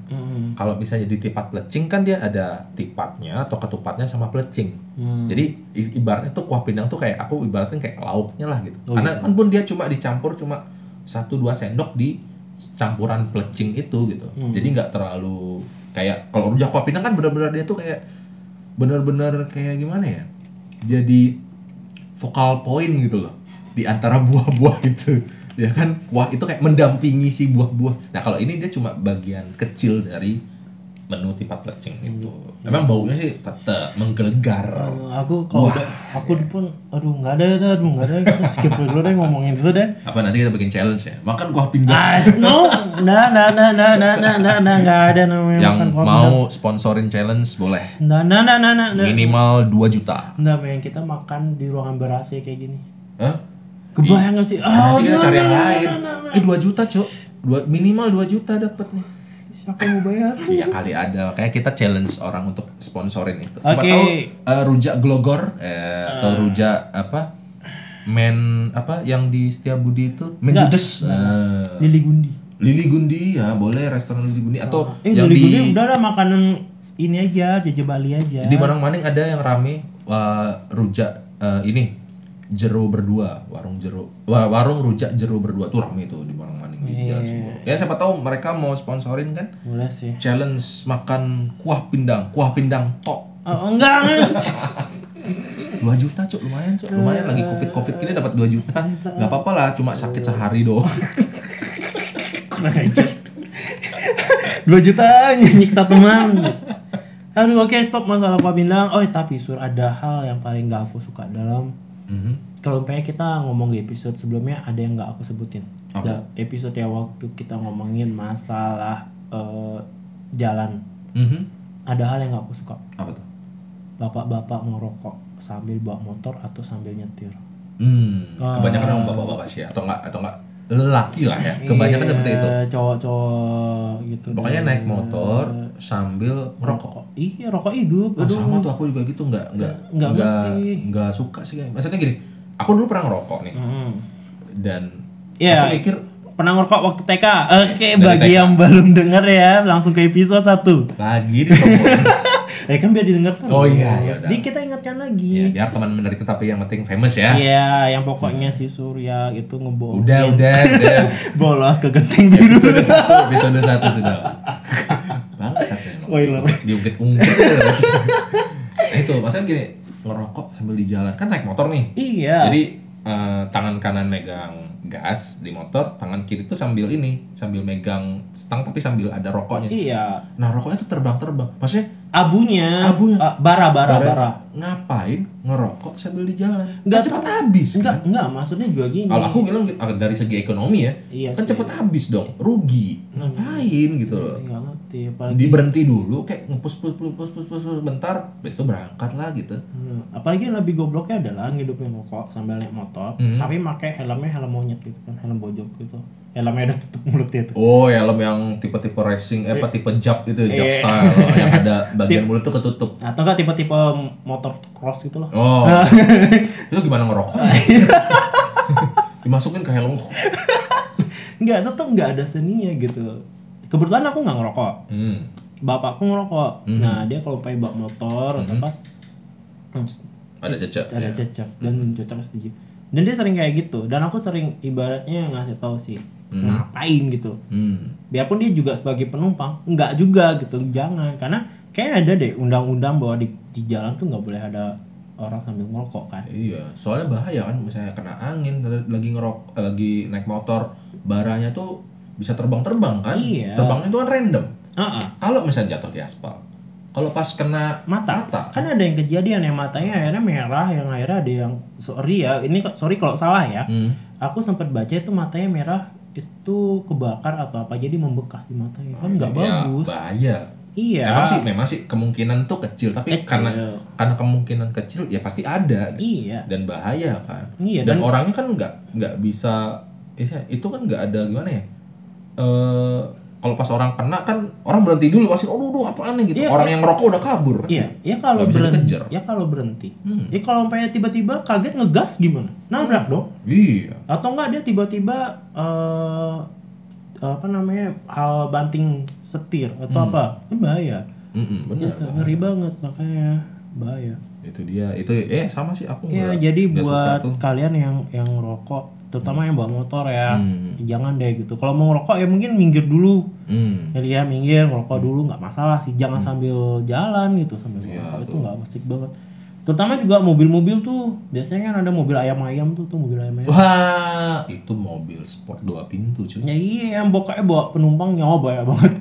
Speaker 3: kalau misalnya di tipat pelecing kan dia ada tipatnya atau ketupatnya sama pelecing jadi i- ibaratnya tuh kuah pindang tuh kayak aku ibaratnya kayak lauknya lah gitu karena kan pun dia cuma dicampur cuma satu dua sendok di campuran pelecing itu gitu jadi nggak terlalu kayak kalau rujak kuah pindang kan benar-benar dia tuh kayak benar-benar kayak gimana ya jadi vokal point gitu loh di antara buah-buah (laughs) itu ya kan wah itu kayak mendampingi si buah-buah nah kalau ini dia cuma bagian kecil dari menu tipat lecing itu
Speaker 4: Iya.
Speaker 3: emang baunya sih tetap menggelegar
Speaker 4: aku kalau udah aku pun aduh nggak ada dah aduh nggak ada kita skip dulu deh ngomongin itu deh
Speaker 3: apa nanti kita bikin challenge ya makan kuah pindang
Speaker 4: ah no nah nah nah nah nah nah nah nah nggak ada namanya
Speaker 3: yang
Speaker 4: makan kuah pindang.
Speaker 3: mau sponsorin challenge boleh
Speaker 4: nah nah nah nah nah nah
Speaker 3: minimal 2 juta
Speaker 4: nggak pengen kita makan di ruangan berasi kayak gini
Speaker 3: Hah?
Speaker 4: kebayang nggak sih oh
Speaker 3: nanti kita
Speaker 4: nah,
Speaker 3: cari
Speaker 4: nah,
Speaker 3: yang
Speaker 4: nah,
Speaker 3: lain
Speaker 4: nah, nah, nah.
Speaker 3: eh 2 juta cok dua, minimal 2 juta dapat nih
Speaker 4: siapa yang mau bayar
Speaker 3: Iya kali ada, kayak kita challenge orang untuk sponsorin itu. Siapa
Speaker 4: Oke. Ah.
Speaker 3: tahu eh, rujak glogor eh, atau rujak apa men apa yang di Setiabudi itu men judes. Nah,
Speaker 4: Lili Gundi
Speaker 3: Lili Gundi ya boleh restoran Lili Gundi atau
Speaker 4: eh
Speaker 3: yang
Speaker 4: Lili Gundi
Speaker 3: di
Speaker 4: udah ada makanan ini aja jaja Bali aja
Speaker 3: di Manang-Maning ada yang rame eh, rujak eh, ini jeru berdua warung jeru wa- warung rujak jeru berdua tuh rame itu di Manang-Maning di
Speaker 4: Iya.
Speaker 3: Jalan Sepuluh. Ya siapa tahu mereka mau sponsorin kan
Speaker 4: boleh sih
Speaker 3: challenge makan kuah pindang kuah pindang tok
Speaker 4: oh, enggak
Speaker 3: 2 juta cuk lumayan cuk lumayan lagi covid covid gini dapat 2 juta nggak apa-apa lah cuma sakit sehari doang
Speaker 4: (laughs) kurang ajar dua juta nyiksa teman aduh oke stop masalah kuah pindang oh tapi sur ada hal yang paling gak aku suka dalam Mhm. kalau misalnya kita ngomong di episode sebelumnya ada yang gak aku sebutin Da- episode yang waktu kita ngomongin masalah eh, jalan
Speaker 3: Mhm.
Speaker 4: ada hal yang gak aku suka
Speaker 3: apa tuh
Speaker 4: bapak-bapak ngerokok sambil bawa motor atau sambil nyetir Ah.
Speaker 3: hmm kebanyakan orang bapak-bapak sih atau enggak atau enggak lelaki lah ya kebanyakan seperti itu Oh.
Speaker 4: Iya, cowok-cowok gitu
Speaker 3: pokoknya naik motor sambil merokok
Speaker 4: iya rokok hidup
Speaker 3: Ah,
Speaker 4: aduh
Speaker 3: sama tuh aku juga gitu nggak nggak
Speaker 4: Nggak
Speaker 3: nggak
Speaker 4: ngerti.
Speaker 3: nggak suka sih kayaknya. maksudnya gini aku dulu pernah ngerokok nih
Speaker 4: Mhm.
Speaker 3: dan
Speaker 4: Iya.
Speaker 3: aku mikir
Speaker 4: pernah ngerokok waktu TK oke
Speaker 3: Dari
Speaker 4: bagi
Speaker 3: TK.
Speaker 4: yang belum denger ya langsung ke episode
Speaker 3: (laughs)
Speaker 4: 1
Speaker 3: lagi di
Speaker 4: (laughs) eh kan biar didengar terus
Speaker 3: Oh iya, ya udah.
Speaker 4: sedikit kita ingatkan
Speaker 3: ya,
Speaker 4: lagi
Speaker 3: biar teman menderita tapi yang penting famous ya
Speaker 4: Iya, yang pokoknya si Surya itu ngebohong.
Speaker 3: udah udah
Speaker 4: Iya.
Speaker 3: udah
Speaker 4: bolos ke genteng biru.
Speaker 3: episode satu episode satu sudah bangsat ya.
Speaker 4: Spoiler.
Speaker 3: diungkit ungkit terus. Nah, itu maksudnya gini ngerokok sambil di jalan kan naik motor nih
Speaker 4: Iya.
Speaker 3: Jadi eh, tangan kanan megang gas di motor, tangan kiri tuh sambil ini, sambil megang stang tapi sambil ada rokoknya.
Speaker 4: iya.
Speaker 3: Nah rokoknya tuh terbang-terbang. Maksudnya
Speaker 4: Abunya,
Speaker 3: Abunya.
Speaker 4: ah, bara bara
Speaker 3: barang-
Speaker 4: bara.
Speaker 3: ngapain ngerokok sambil di jalan? Kan
Speaker 4: Nggak
Speaker 3: cepat habis.
Speaker 4: Enggak,
Speaker 3: Kan?
Speaker 4: enggak maksudnya juga gini.
Speaker 3: Kalau aku bilang gitu, ah, dari segi ekonomi ya,
Speaker 4: Iya
Speaker 3: kan
Speaker 4: sih. Nah.
Speaker 3: cepat habis dong, rugi. Ngapain gitu loh.
Speaker 4: Enggak ngerti apalagi
Speaker 3: Di berhenti dulu kayak ngepus pus pus pus pus pus pus, bentar, besok berangkat lah gitu.
Speaker 4: Hmm, apalagi yang lebih gobloknya adalah ngidupin rokok sambil naik motor, tapi pakai helmnya helm monyet gitu kan, helm bojok gitu. Helmnya udah tutup mulutnya tuh.
Speaker 3: Oh, helm yang tipe-tipe racing, eh, apa tipe jab itu, jab
Speaker 4: Iya.
Speaker 3: style oh, yang
Speaker 4: (laughs)
Speaker 3: ada bagian mulut tuh ketutup.
Speaker 4: Atau enggak tipe-tipe motor cross gitu loh. (laughs)
Speaker 3: Oh, (laughs) itu gimana ngerokok?
Speaker 4: Ah, iya.
Speaker 3: (laughs) Dimasukin ke helm.
Speaker 4: Enggak, tetap enggak ada seninya gitu. Kebetulan aku nggak ngerokok.
Speaker 3: Hmm.
Speaker 4: Bapakku ngerokok. Nah, dia kalau pakai bak motor atau apa hmm,
Speaker 3: Ada cecek.
Speaker 4: ada cecak dan cocok setuju dan dia sering kayak gitu dan aku sering ibaratnya ngasih tahu sih ngapain gitu
Speaker 3: Hmm.
Speaker 4: biarpun dia juga sebagai penumpang nggak juga gitu jangan karena kayak ada deh undang-undang bahwa di, di jalan tuh nggak boleh ada orang sambil ngerokok kan
Speaker 3: Iya, soalnya bahaya kan misalnya kena angin lagi ngerok eh, lagi naik motor, baranya tuh bisa terbang-terbang kan?
Speaker 4: Iya.
Speaker 3: Terbangnya itu kan random.
Speaker 4: Ah, ah.
Speaker 3: Kalau misalnya jatuh di aspal, kalau pas kena
Speaker 4: mata.
Speaker 3: Mata.
Speaker 4: kan ada yang kejadian yang matanya akhirnya merah yang akhirnya ada yang sorry ya ini ke- sorry kalau salah ya
Speaker 3: Hmm.
Speaker 4: aku sempat baca itu matanya merah itu kebakar atau apa jadi membekas di matanya kan nggak
Speaker 3: ya,
Speaker 4: bagus
Speaker 3: bahaya.
Speaker 4: iya
Speaker 3: Memang sih, memang sih kemungkinan tuh kecil, tapi
Speaker 4: Kecil.
Speaker 3: karena karena kemungkinan kecil ya pasti ada. gitu.
Speaker 4: iya
Speaker 3: dan bahaya kan
Speaker 4: Iya,
Speaker 3: dan,
Speaker 4: dan-
Speaker 3: orangnya kan nggak nggak bisa itu- itu kan nggak ada gimana ya eh kalau pas orang kena kan orang berhenti dulu pasti aduh aduh apaan nih gitu
Speaker 4: Iya,
Speaker 3: orang yang ngerokok udah kabur
Speaker 4: Iya, ya kalau
Speaker 3: Nggak bisa
Speaker 4: berhenti,
Speaker 3: dikejar. Hmm.
Speaker 4: ya kalau berhenti. Ya kalau umpamanya tiba-tiba kaget ngegas gimana? Nabrak dong.
Speaker 3: iya
Speaker 4: Atau enggak dia tiba-tiba eh apa namanya? hal banting setir
Speaker 3: Hmm.
Speaker 4: atau apa? Kan bahaya.
Speaker 3: Mm-mm, bener
Speaker 4: Gitu, ngeri banget makanya bahaya.
Speaker 3: itu dia itu eh sama sih aku
Speaker 4: Ya,
Speaker 3: nggak-
Speaker 4: jadi
Speaker 3: nggak suka
Speaker 4: buat
Speaker 3: tuh.
Speaker 4: kalian yang yang rokok terutama yang bawa motor ya, jangan deh gitu. Kalau mau ngerokok ya mungkin minggir dulu.
Speaker 3: Hmm.
Speaker 4: Jadi ya minggir ngerokok dulu nggak masalah sih jangan sambil jalan gitu sambil
Speaker 3: Iya,
Speaker 4: ngerokok itu nggak masjid banget terutama juga mobil-mobil tuh biasanya kan ada mobil ayam-ayam tuh tuh mobil ayam-ayam
Speaker 3: wah itu mobil sport dua pintu cuy
Speaker 4: ya iya yang bokapnya bawa penumpang nyawa banyak (laughs) banget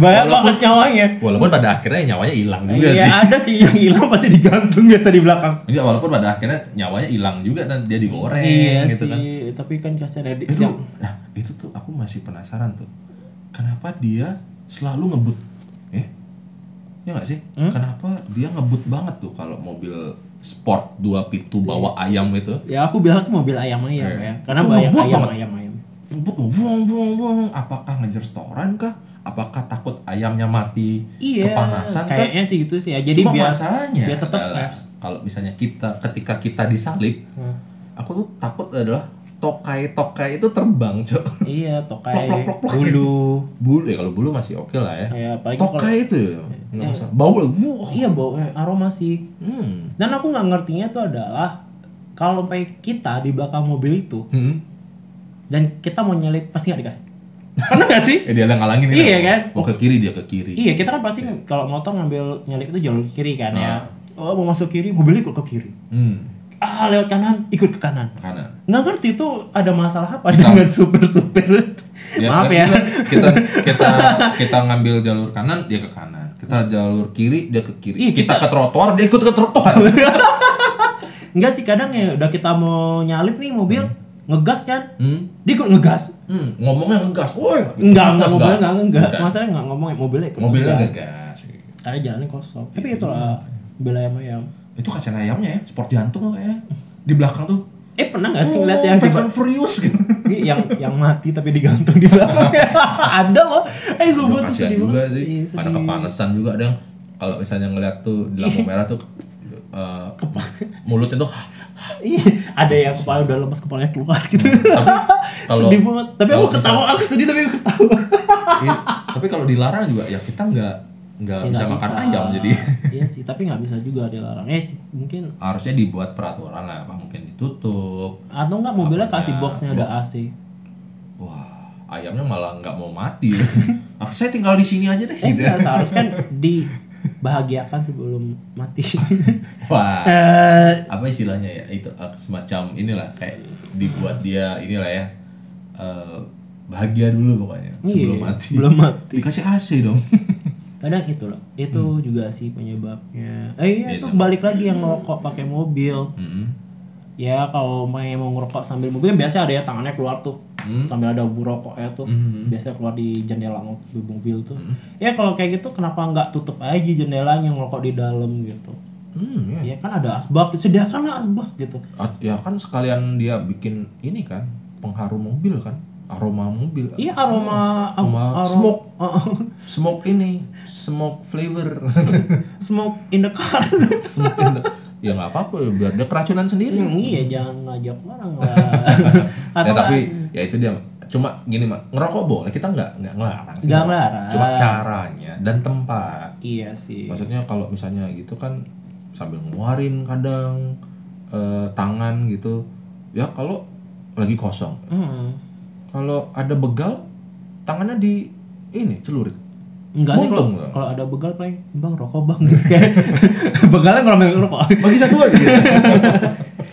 Speaker 4: banyak banget nyawanya
Speaker 3: walaupun pada akhirnya nyawanya hilang juga
Speaker 4: iya
Speaker 3: sih
Speaker 4: ada sih yang hilang pasti digantung biasa di belakang
Speaker 3: Iya, walaupun pada akhirnya nyawanya hilang juga dan dia digoreng
Speaker 4: iya
Speaker 3: gitu
Speaker 4: sih
Speaker 3: kan
Speaker 4: tapi kan kasihan ada
Speaker 3: itu nah itu tuh aku masih penasaran tuh kenapa dia selalu ngebut eh ya nggak sih
Speaker 4: Hmm?
Speaker 3: kenapa dia ngebut banget tuh kalau mobil sport dua pintu bawa ayam itu
Speaker 4: ya aku bilang sih mobil ayam-ayam ya karena
Speaker 3: Itu
Speaker 4: banyak
Speaker 3: ngebut banget.
Speaker 4: ayam-ayam
Speaker 3: ngebut tuh, vuong vuong vuong apakah ngejar setoran kah apakah takut ayamnya mati
Speaker 4: iya
Speaker 3: kepanasan kah
Speaker 4: kayaknya sih gitu sih ya jadi
Speaker 3: Cuma
Speaker 4: biar
Speaker 3: masalahnya
Speaker 4: biar tetap
Speaker 3: adalah
Speaker 4: fresh. Hmm.
Speaker 3: kalau misalnya kita ketika kita disalib aku tuh takut adalah tokai tokai itu terbang cok
Speaker 4: Iya, tokai,
Speaker 3: Plok, plok, plok, plok.
Speaker 4: (laughs) bulu.
Speaker 3: bulu ya kalau bulu masih oke lah ya
Speaker 4: Ya, apalagi kalau
Speaker 3: Tokai itu ya? Nggak masalah. Bau lah. wuh.
Speaker 4: iya bau eh, aroma sih.
Speaker 3: Hmm.
Speaker 4: Dan aku nggak ngertinya itu adalah kalau sampai kita di belakang mobil itu
Speaker 3: Hmm.
Speaker 4: dan kita mau nyelip pasti nggak
Speaker 3: (laughs)
Speaker 4: dikasih. Pernah nggak sih?
Speaker 3: Eh, dia lah ngalangin ini.
Speaker 4: Iya, kan?
Speaker 3: Mau ke kiri dia ke kiri.
Speaker 4: Iya, kita kan pasti kalau motor ngambil nyelip itu jalur kiri kan ya.
Speaker 3: Ah.
Speaker 4: Oh, mau masuk kiri, mobilnya ikut ke kiri.
Speaker 3: Hmm.
Speaker 4: Ah, lewat kanan, ikut ke kanan.
Speaker 3: Kanan.
Speaker 4: Nggak ngerti itu ada masalah apa dengan supir-supir itu.
Speaker 3: kan
Speaker 4: Maaf ya.
Speaker 3: kita-
Speaker 4: (laughs)
Speaker 3: Kita kita kita ngambil jalur kanan dia ke kanan. Kita jalur kiri dia ke kiri.
Speaker 4: Hmm. Iya,
Speaker 3: kita, ke trotoar dia ikut ke trotoar.
Speaker 4: (laughs) Enggak sih kadang ya udah kita mau nyalip nih mobil, ngegas kan?
Speaker 3: hmm.
Speaker 4: Dia ikut ngegas.
Speaker 3: hmm. Ngomongnya ngegas. Woi. gitu.
Speaker 4: Enggak, enggak, mobilnya enggak, enggak. Masalahnya enggak ngomong ya, mobilnya ikut.
Speaker 3: Mobilnya ngegas.
Speaker 4: Karena jalannya kosong. Iya.
Speaker 3: eh,
Speaker 4: Tapi itu lah, bela ayam ayam.
Speaker 3: Itu kasihan ayamnya ya. Sport jantung kayaknya. ya. Di belakang tuh.
Speaker 4: eh pernah nggak sih
Speaker 3: Oh,
Speaker 4: ngeliat yang
Speaker 3: Fast
Speaker 4: tiba-
Speaker 3: and Furious gitu.
Speaker 4: Ini (laughs) yang yang mati tapi digantung di belakang
Speaker 3: (laughs)
Speaker 4: ada loh
Speaker 3: Udah
Speaker 4: eh sumpah tuh
Speaker 3: kasihan
Speaker 4: sedih
Speaker 3: juga
Speaker 4: banget.
Speaker 3: sih.
Speaker 4: Iya,
Speaker 3: Pada
Speaker 4: sedih.
Speaker 3: kepanasan juga ada yang kalau misalnya ngeliat tuh di lampu merah tuh eh, mulutnya tuh (laughs)
Speaker 4: Iya, ada yang kepala udah lemas kepalanya keluar gitu
Speaker 3: Hmm, kalau-
Speaker 4: (laughs) sedih banget tapi aku
Speaker 3: kalau
Speaker 4: ketawa aku sedih tapi aku ketawa
Speaker 3: Iya, tapi kalau dilarang juga ya kita nggak nggak bisa
Speaker 4: Nggak
Speaker 3: makan ayam jadi (laughs)
Speaker 4: iya sih tapi nggak bisa juga dilarang eh sih, mungkin
Speaker 3: harusnya dibuat peraturan lah apa mungkin ditutup
Speaker 4: atau nggak mobilnya kasih boxnya udah AC
Speaker 3: wah ayamnya malah nggak mau mati (laughs) aku saya tinggal di sini aja deh
Speaker 4: eh
Speaker 3: gitu
Speaker 4: nggak seharusnya kan dibahagiakan sebelum
Speaker 3: (laughs)
Speaker 4: mati
Speaker 3: wah
Speaker 4: Eh,
Speaker 3: apa istilahnya ya itu eh, semacam inilah kayak dibuat dia inilah ya eh, bahagia dulu pokoknya sebelum
Speaker 4: Iya,
Speaker 3: mati (laughs)
Speaker 4: sebelum mati.
Speaker 3: dikasih AC dong
Speaker 4: kadang itu loh itu
Speaker 3: Hmm.
Speaker 4: juga sih penyebabnya eh iya, itu balik lagi yang ngerokok pakai mobil
Speaker 3: Mm-mm.
Speaker 4: ya kalau main mau ngerokok sambil mobil kan biasanya ada ya tangannya keluar tuh
Speaker 3: Hmm.
Speaker 4: sambil ada bu rokoknya tuh biasanya keluar di jendela mobil, mobil tuh
Speaker 3: Hmm.
Speaker 4: ya kalau kayak gitu kenapa nggak tutup aja jendelanya ngerokok di dalam gitu
Speaker 3: (laughs) Hmm, ya.
Speaker 4: ya kan ada asbak sediakanlah asbak gitu
Speaker 3: Ah, ya kan sekalian dia bikin ini kan pengharum mobil kan aroma mobil
Speaker 4: iya aroma
Speaker 3: Hmm. Aroma
Speaker 4: aroma
Speaker 3: smoke. smoke ini smoke (laughs) flavor
Speaker 4: (laughs) smoke in the car
Speaker 3: Smoke in the- ya nggak apa-apa ya, biar dia keracunan sendiri
Speaker 4: Hmm, (laughs) iya jangan ngajak orang
Speaker 3: (laughs)
Speaker 4: lah
Speaker 3: ya
Speaker 4: atau
Speaker 3: tapi ya itu dia cuma gini mak ngerokok boleh kita nggak nggak ngelarang sih.
Speaker 4: Nggak ngelarang.
Speaker 3: cuma caranya dan tempat
Speaker 4: iya sih
Speaker 3: maksudnya kalau misalnya gitu kan sambil ngeluarin kadang eh, tangan gitu ya kalau lagi kosong
Speaker 4: Hmm.
Speaker 3: kalau ada begal tangannya di ini celurit
Speaker 4: Enggak sih kalau
Speaker 3: Untung nggak?
Speaker 4: kalau ada begal paling bang rokok bang (laughs) gitu
Speaker 3: (laughs)
Speaker 4: kayak begalnya kalau main rokok.
Speaker 3: bagi satu aja
Speaker 4: (laughs)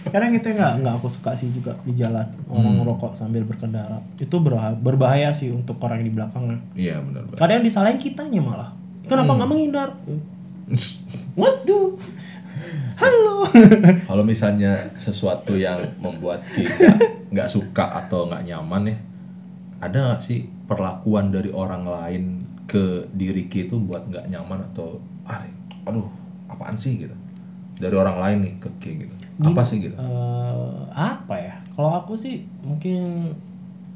Speaker 4: Kadang itu nggak nggak aku suka sih juga di jalan
Speaker 3: Hmm.
Speaker 4: orang ngerokok sambil berkendara. Itu berha- berbahaya sih untuk orang yang di belakangnya.
Speaker 3: iya benar benar (laughs)
Speaker 4: Kadang disalahin kitanya malah.
Speaker 3: Hmm.
Speaker 4: Kenapa nggak menghindar? What do? (laughs) Halo.
Speaker 3: kalau misalnya sesuatu yang membuat kita nggak suka atau nggak nyaman ya ada nggak sih perlakuan dari orang lain ke diri kita itu buat nggak nyaman atau "Ah, aduh apaan sih gitu dari orang lain nih ke Ki gitu apa sih gitu
Speaker 4: Eh, apa ya? Kalau aku sih mungkin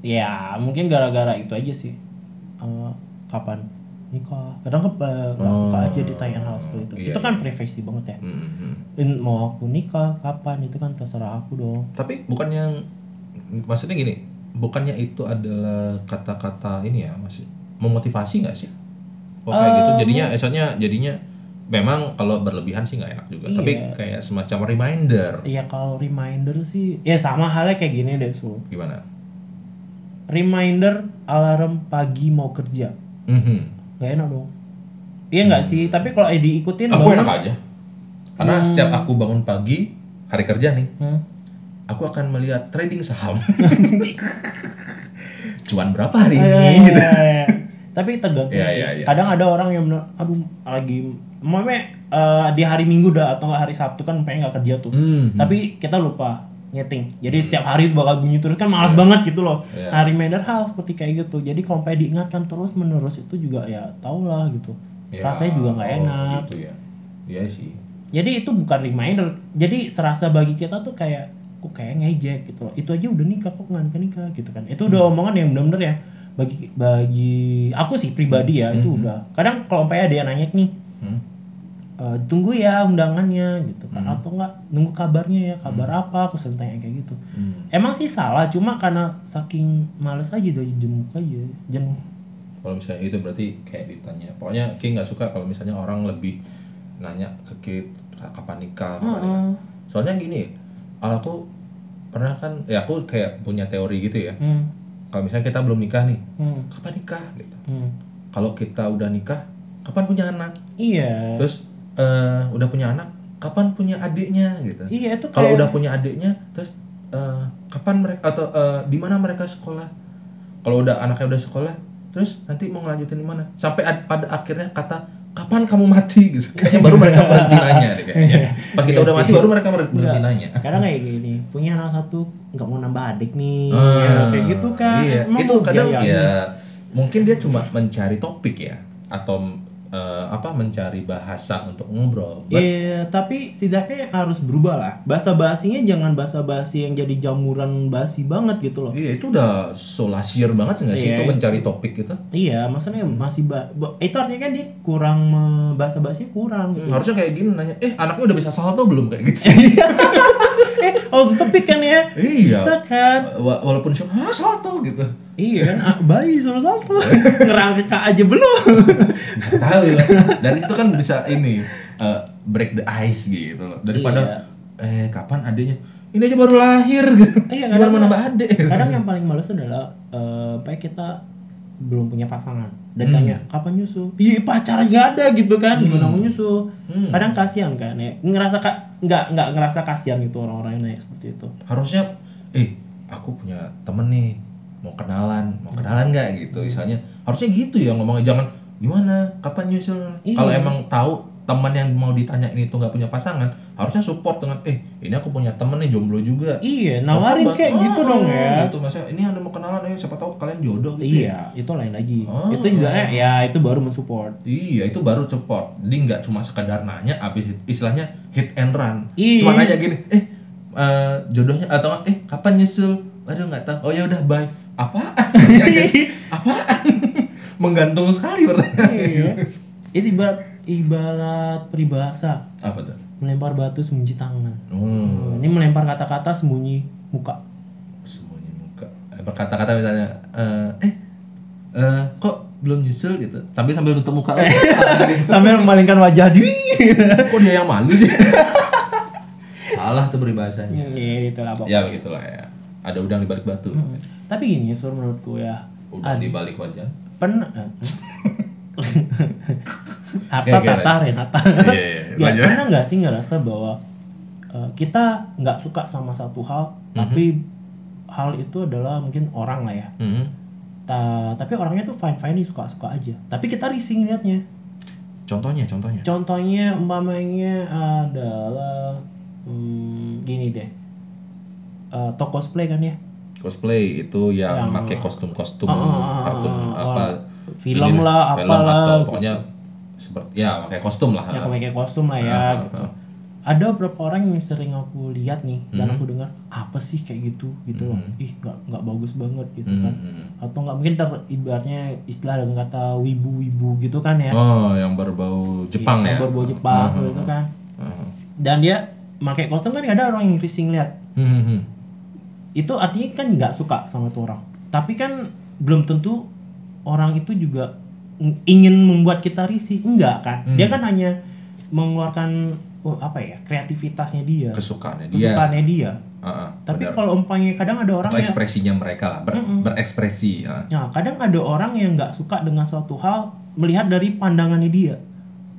Speaker 4: ya mungkin gara-gara itu aja sih. Eh, kapan nikah? Kadang kan eh, nggak suka aja ditanyain hal seperti itu. itu kan privasi banget ya.
Speaker 3: Mm-mm.
Speaker 4: In- mau aku nikah kapan itu kan terserah aku dong.
Speaker 3: tapi bukan yang maksudnya gini bukannya itu adalah kata-kata ini ya masih memotivasi nggak sih kok kayak gitu jadinya esoknya jadinya memang kalau berlebihan sih nggak enak juga tapi kayak semacam reminder
Speaker 4: Iya kalau reminder sih ya sama halnya kayak gini deh Sul.
Speaker 3: gimana
Speaker 4: Reminder alarm pagi mau kerja.
Speaker 3: Mhm.
Speaker 4: Gak enak dong. Iya nggak sih? Tapi kalau eh, diikutin
Speaker 3: aku
Speaker 4: bangun-
Speaker 3: enak aja karena
Speaker 4: Hmm.
Speaker 3: setiap aku bangun pagi hari kerja nih aku akan melihat trading saham (laughs) cuan berapa hari ini
Speaker 4: Iya,
Speaker 3: gitu
Speaker 4: iya, iya. Tapi tergantung
Speaker 3: Iya,
Speaker 4: sih.
Speaker 3: iya, iya.
Speaker 4: Kadang ada orang yang bener, aduh lagi mame eh, di hari Minggu dah atau nggak hari Sabtu kan pengen nggak kerja tuh.
Speaker 3: Hmm.
Speaker 4: Tapi kita lupa nyeting. Jadi setiap hari itu bakal bunyi terus kan malas
Speaker 3: Iya.
Speaker 4: banget gitu loh. Nah, reminder hal seperti kayak gitu. Jadi kalau pengen diingatkan terus menerus itu juga ya tau lah gitu.
Speaker 3: Ya,
Speaker 4: Rasanya juga nggak
Speaker 3: oh,
Speaker 4: enak.
Speaker 3: gitu ya iya sih
Speaker 4: Jadi itu bukan reminder. Jadi serasa bagi kita tuh kayak kok kayak ngejek gitu loh. Itu aja udah nikah kok nggak nikah nikah gitu kan. Itu udah omongan yang bener-bener ya bagi bagi aku sih pribadi ya itu udah. Kadang kalau umpamanya ada yang nanya nih
Speaker 3: Hmm.
Speaker 4: "Eh, tunggu ya undangannya gitu kan atau enggak nunggu kabarnya ya kabar apa aku sering tanya kayak gitu emang sih salah cuma karena saking males aja dari jemuk aja jenuh
Speaker 3: kalau misalnya itu berarti kayak ditanya pokoknya Ki nggak suka kalau misalnya orang lebih nanya ke Ki "Ah, kapan nikah kapan nikah soalnya gini kalau aku pernah kan ya aku kayak punya teori gitu ya
Speaker 4: hmm.
Speaker 3: kalau misalnya kita belum nikah nih
Speaker 4: Hmm.
Speaker 3: kapan nikah gitu
Speaker 4: hmm.
Speaker 3: kalau kita udah nikah kapan punya anak
Speaker 4: iya
Speaker 3: terus eh, udah punya anak kapan punya adiknya gitu
Speaker 4: iya itu
Speaker 3: kalau
Speaker 4: kayak-
Speaker 3: udah punya adiknya terus eh, kapan mereka atau eh, di mana mereka sekolah kalau udah anaknya udah sekolah terus nanti mau ngelanjutin di mana sampai ad- pada akhirnya kata kapan kamu mati gitu
Speaker 4: Iya,
Speaker 3: kayaknya baru mereka berhenti nanya deh kayaknya pas kita udah mati baru mereka ber- berhenti
Speaker 4: Iya.
Speaker 3: nanya
Speaker 4: kadang kayak gini punya anak satu nggak mau nambah adik nih
Speaker 3: Ah,
Speaker 4: ya, kayak gitu kan
Speaker 3: iya.
Speaker 4: Emang ya, iya.
Speaker 3: itu
Speaker 4: mau
Speaker 3: kadang
Speaker 4: biayain?
Speaker 3: ya mungkin dia cuma mencari topik ya atau eh, apa mencari bahasa untuk ngobrol. But-
Speaker 4: Iya, tapi setidaknya harus berubah lah. Bahasa basinya jangan bahasa basi yang jadi jamuran basi banget gitu loh.
Speaker 3: Iya itu udah so last year banget sih nggak sih
Speaker 4: Iya,
Speaker 3: itu
Speaker 4: iya.
Speaker 3: mencari topik gitu.
Speaker 4: Iya, maksudnya masih ba ba- itu artinya kan dia kurang me- bahasa basi kurang gitu.
Speaker 3: Hmm. Harusnya kayak gini nanya, eh anaknya udah bisa salto belum kayak gitu.
Speaker 4: eh, oh tapi kan ya.
Speaker 3: Hmm. Iya.
Speaker 4: Bisa kan?
Speaker 3: (laughs) Wa- walaupun shock, ah salto gitu.
Speaker 4: Iya kan, ah, bayi suruh
Speaker 3: (laughs)
Speaker 4: satu. Ngerangka aja belum.
Speaker 3: Nggak Tahu lah. Dari situ kan bisa ini eh, break the ice gitu loh. Daripada eh kapan adanya ini aja baru lahir (laughs) gitu.
Speaker 4: Iya,
Speaker 3: Gimana
Speaker 4: kadang-
Speaker 3: mau nambah adik?
Speaker 4: Kadang yang paling males adalah eh kayak kita belum punya pasangan dan
Speaker 3: Hmm.
Speaker 4: tanya kapan nyusul? Iya pacar nggak ada gitu kan, gimana mau nyusul?
Speaker 3: Hmm.
Speaker 4: Kadang kasihan kan, ya. ngerasa ka nggak nggak ngerasa kasihan gitu orang-orang yang nanya seperti itu.
Speaker 3: harusnya eh aku punya temen nih mau kenalan mau kenalan nggak gitu misalnya harusnya gitu ya ngomongnya jangan gimana kapan nyusul kalau emang tahu teman yang mau ditanya ini tuh nggak punya pasangan harusnya support dengan eh ini aku punya temen nih jomblo juga
Speaker 4: Iya, nawarin
Speaker 3: Harusnya
Speaker 4: kayak
Speaker 3: bantu-
Speaker 4: gitu
Speaker 3: Ah,
Speaker 4: dong ya.
Speaker 3: gitu maksudnya ini anda mau kenalan ayo siapa tahu kalian jodoh gitu ya.
Speaker 4: Iya, itu lain lagi.
Speaker 3: Oh.
Speaker 4: Itu juga ya itu baru mensupport.
Speaker 3: Iya itu baru support Jadi nggak cuma sekedar nanya Abis itu istilahnya hit and run
Speaker 4: Iya.
Speaker 3: Cuma nanya gini Eh eh, jodohnya atau nggak, Eh kapan nyusul Aduh nggak tahu Oh ya udah bye Apaan? (laughs) Ya kan? Apaan? (laughs) Menggantung sekali pertanyaan
Speaker 4: Iya. (laughs) Itu ibarat ibarat peribahasa
Speaker 3: Apa tuh?
Speaker 4: melempar batu sembunyi tangan.
Speaker 3: Hmm,
Speaker 4: Ini melempar kata-kata sembunyi muka.
Speaker 3: semuanya muka Eh, Berkata-kata misalnya eh, Eh eh, kok belum nyusul gitu Sambil sambil nutup muka
Speaker 4: (laughs) Sambil memalingkan wajah di.
Speaker 3: Kok dia yang malu
Speaker 4: (laughs)
Speaker 3: sih? Salah tuh peribahasanya
Speaker 4: Iya, itulah Bang.
Speaker 3: Ya begitulah ya Ada udang di balik batu
Speaker 4: Hmm. Tapi gini, sur menurutku ya.
Speaker 3: Udah dibalik wajan.
Speaker 4: Pernah
Speaker 3: (laughs)
Speaker 4: Harta
Speaker 3: Oke, oke,
Speaker 4: tata Renata.
Speaker 3: Iya, iya,
Speaker 4: Ya,
Speaker 3: lanjut.
Speaker 4: pernah nggak sih ngerasa bahwa eh, kita nggak suka sama satu hal,
Speaker 3: Mhm.
Speaker 4: tapi hal itu adalah mungkin orang lah ya. Ta- tapi orangnya tuh fine fine suka suka aja. Tapi kita risih liatnya.
Speaker 3: Contohnya, contohnya.
Speaker 4: Contohnya umpamanya adalah hmm, gini deh. Eh, toko cosplay kan ya.
Speaker 3: Cosplay itu yang pakai kostum-kostum
Speaker 4: Ah,
Speaker 3: kartun apa
Speaker 4: Film
Speaker 3: ini,
Speaker 4: lah,
Speaker 3: film
Speaker 4: apalah, gitu.
Speaker 3: atau pokoknya seperti ya pakai kostum lah.
Speaker 4: yang pakai kostum lah
Speaker 3: Ah,
Speaker 4: ya gitu. ada beberapa orang yang sering aku lihat nih
Speaker 3: Hmm.
Speaker 4: dan aku dengar apa sih kayak gitu gitu loh ih nggak nggak bagus banget gitu
Speaker 3: Hmm,
Speaker 4: kan atau nggak mungkin ter ibaratnya istilah dengan kata wibu-wibu gitu kan ya
Speaker 3: Oh, yang berbau Jepang ya. hmm.
Speaker 4: Iya, yang berbau Jepang gitu kan dan dia pakai kostum kan ada orang yang rising lihat
Speaker 3: Hmm, hmm.
Speaker 4: itu artinya kan nggak suka sama tuh orang tapi kan belum tentu orang itu juga ng- ingin membuat kita risih enggak kan
Speaker 3: Hmm.
Speaker 4: dia kan hanya mengeluarkan oh, apa ya kreativitasnya dia
Speaker 3: Kesukaannya dia.
Speaker 4: kesukaannya dia
Speaker 3: Heeh.
Speaker 4: tapi kalau Hmm, umpamanya kadang ada orang
Speaker 3: iya. Atau
Speaker 4: yang
Speaker 3: ekspresinya mereka lah, ber- berekspresi. ah.
Speaker 4: nah kadang ada orang yang nggak suka dengan suatu hal melihat dari pandangannya dia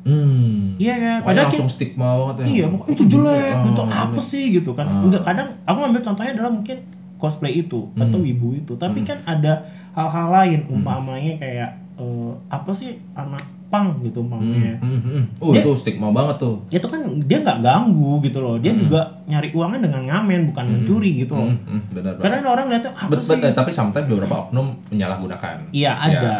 Speaker 3: Hmm.
Speaker 4: iya kan
Speaker 3: Pokoknya
Speaker 4: padahal kita-
Speaker 3: langsung stigma banget ya. Hmm,
Speaker 4: iya pokoknya itu jelek
Speaker 3: Oh,
Speaker 4: gitu
Speaker 3: iya.
Speaker 4: apa sih gitu kan
Speaker 3: Ah.
Speaker 4: enggak kadang aku ngambil contohnya adalah mungkin cosplay itu
Speaker 3: Hmm.
Speaker 4: atau wibu itu tapi kan ada hal-hal lain umpamanya kayak eh, apa sih anak pang gitu umpamanya
Speaker 3: Hmm, hmm. Oh, itu stigma banget tuh.
Speaker 4: itu kan dia nggak ganggu gitu loh dia juga nyari uangnya dengan ngamen bukan mencuri gitu loh
Speaker 3: Hmm, benar banget.
Speaker 4: karena ada orang lihatnya apa
Speaker 3: Bet-
Speaker 4: sih
Speaker 3: bet- tapi sometimes beberapa oknum menyalahgunakan. Ya,
Speaker 4: Iya, ada.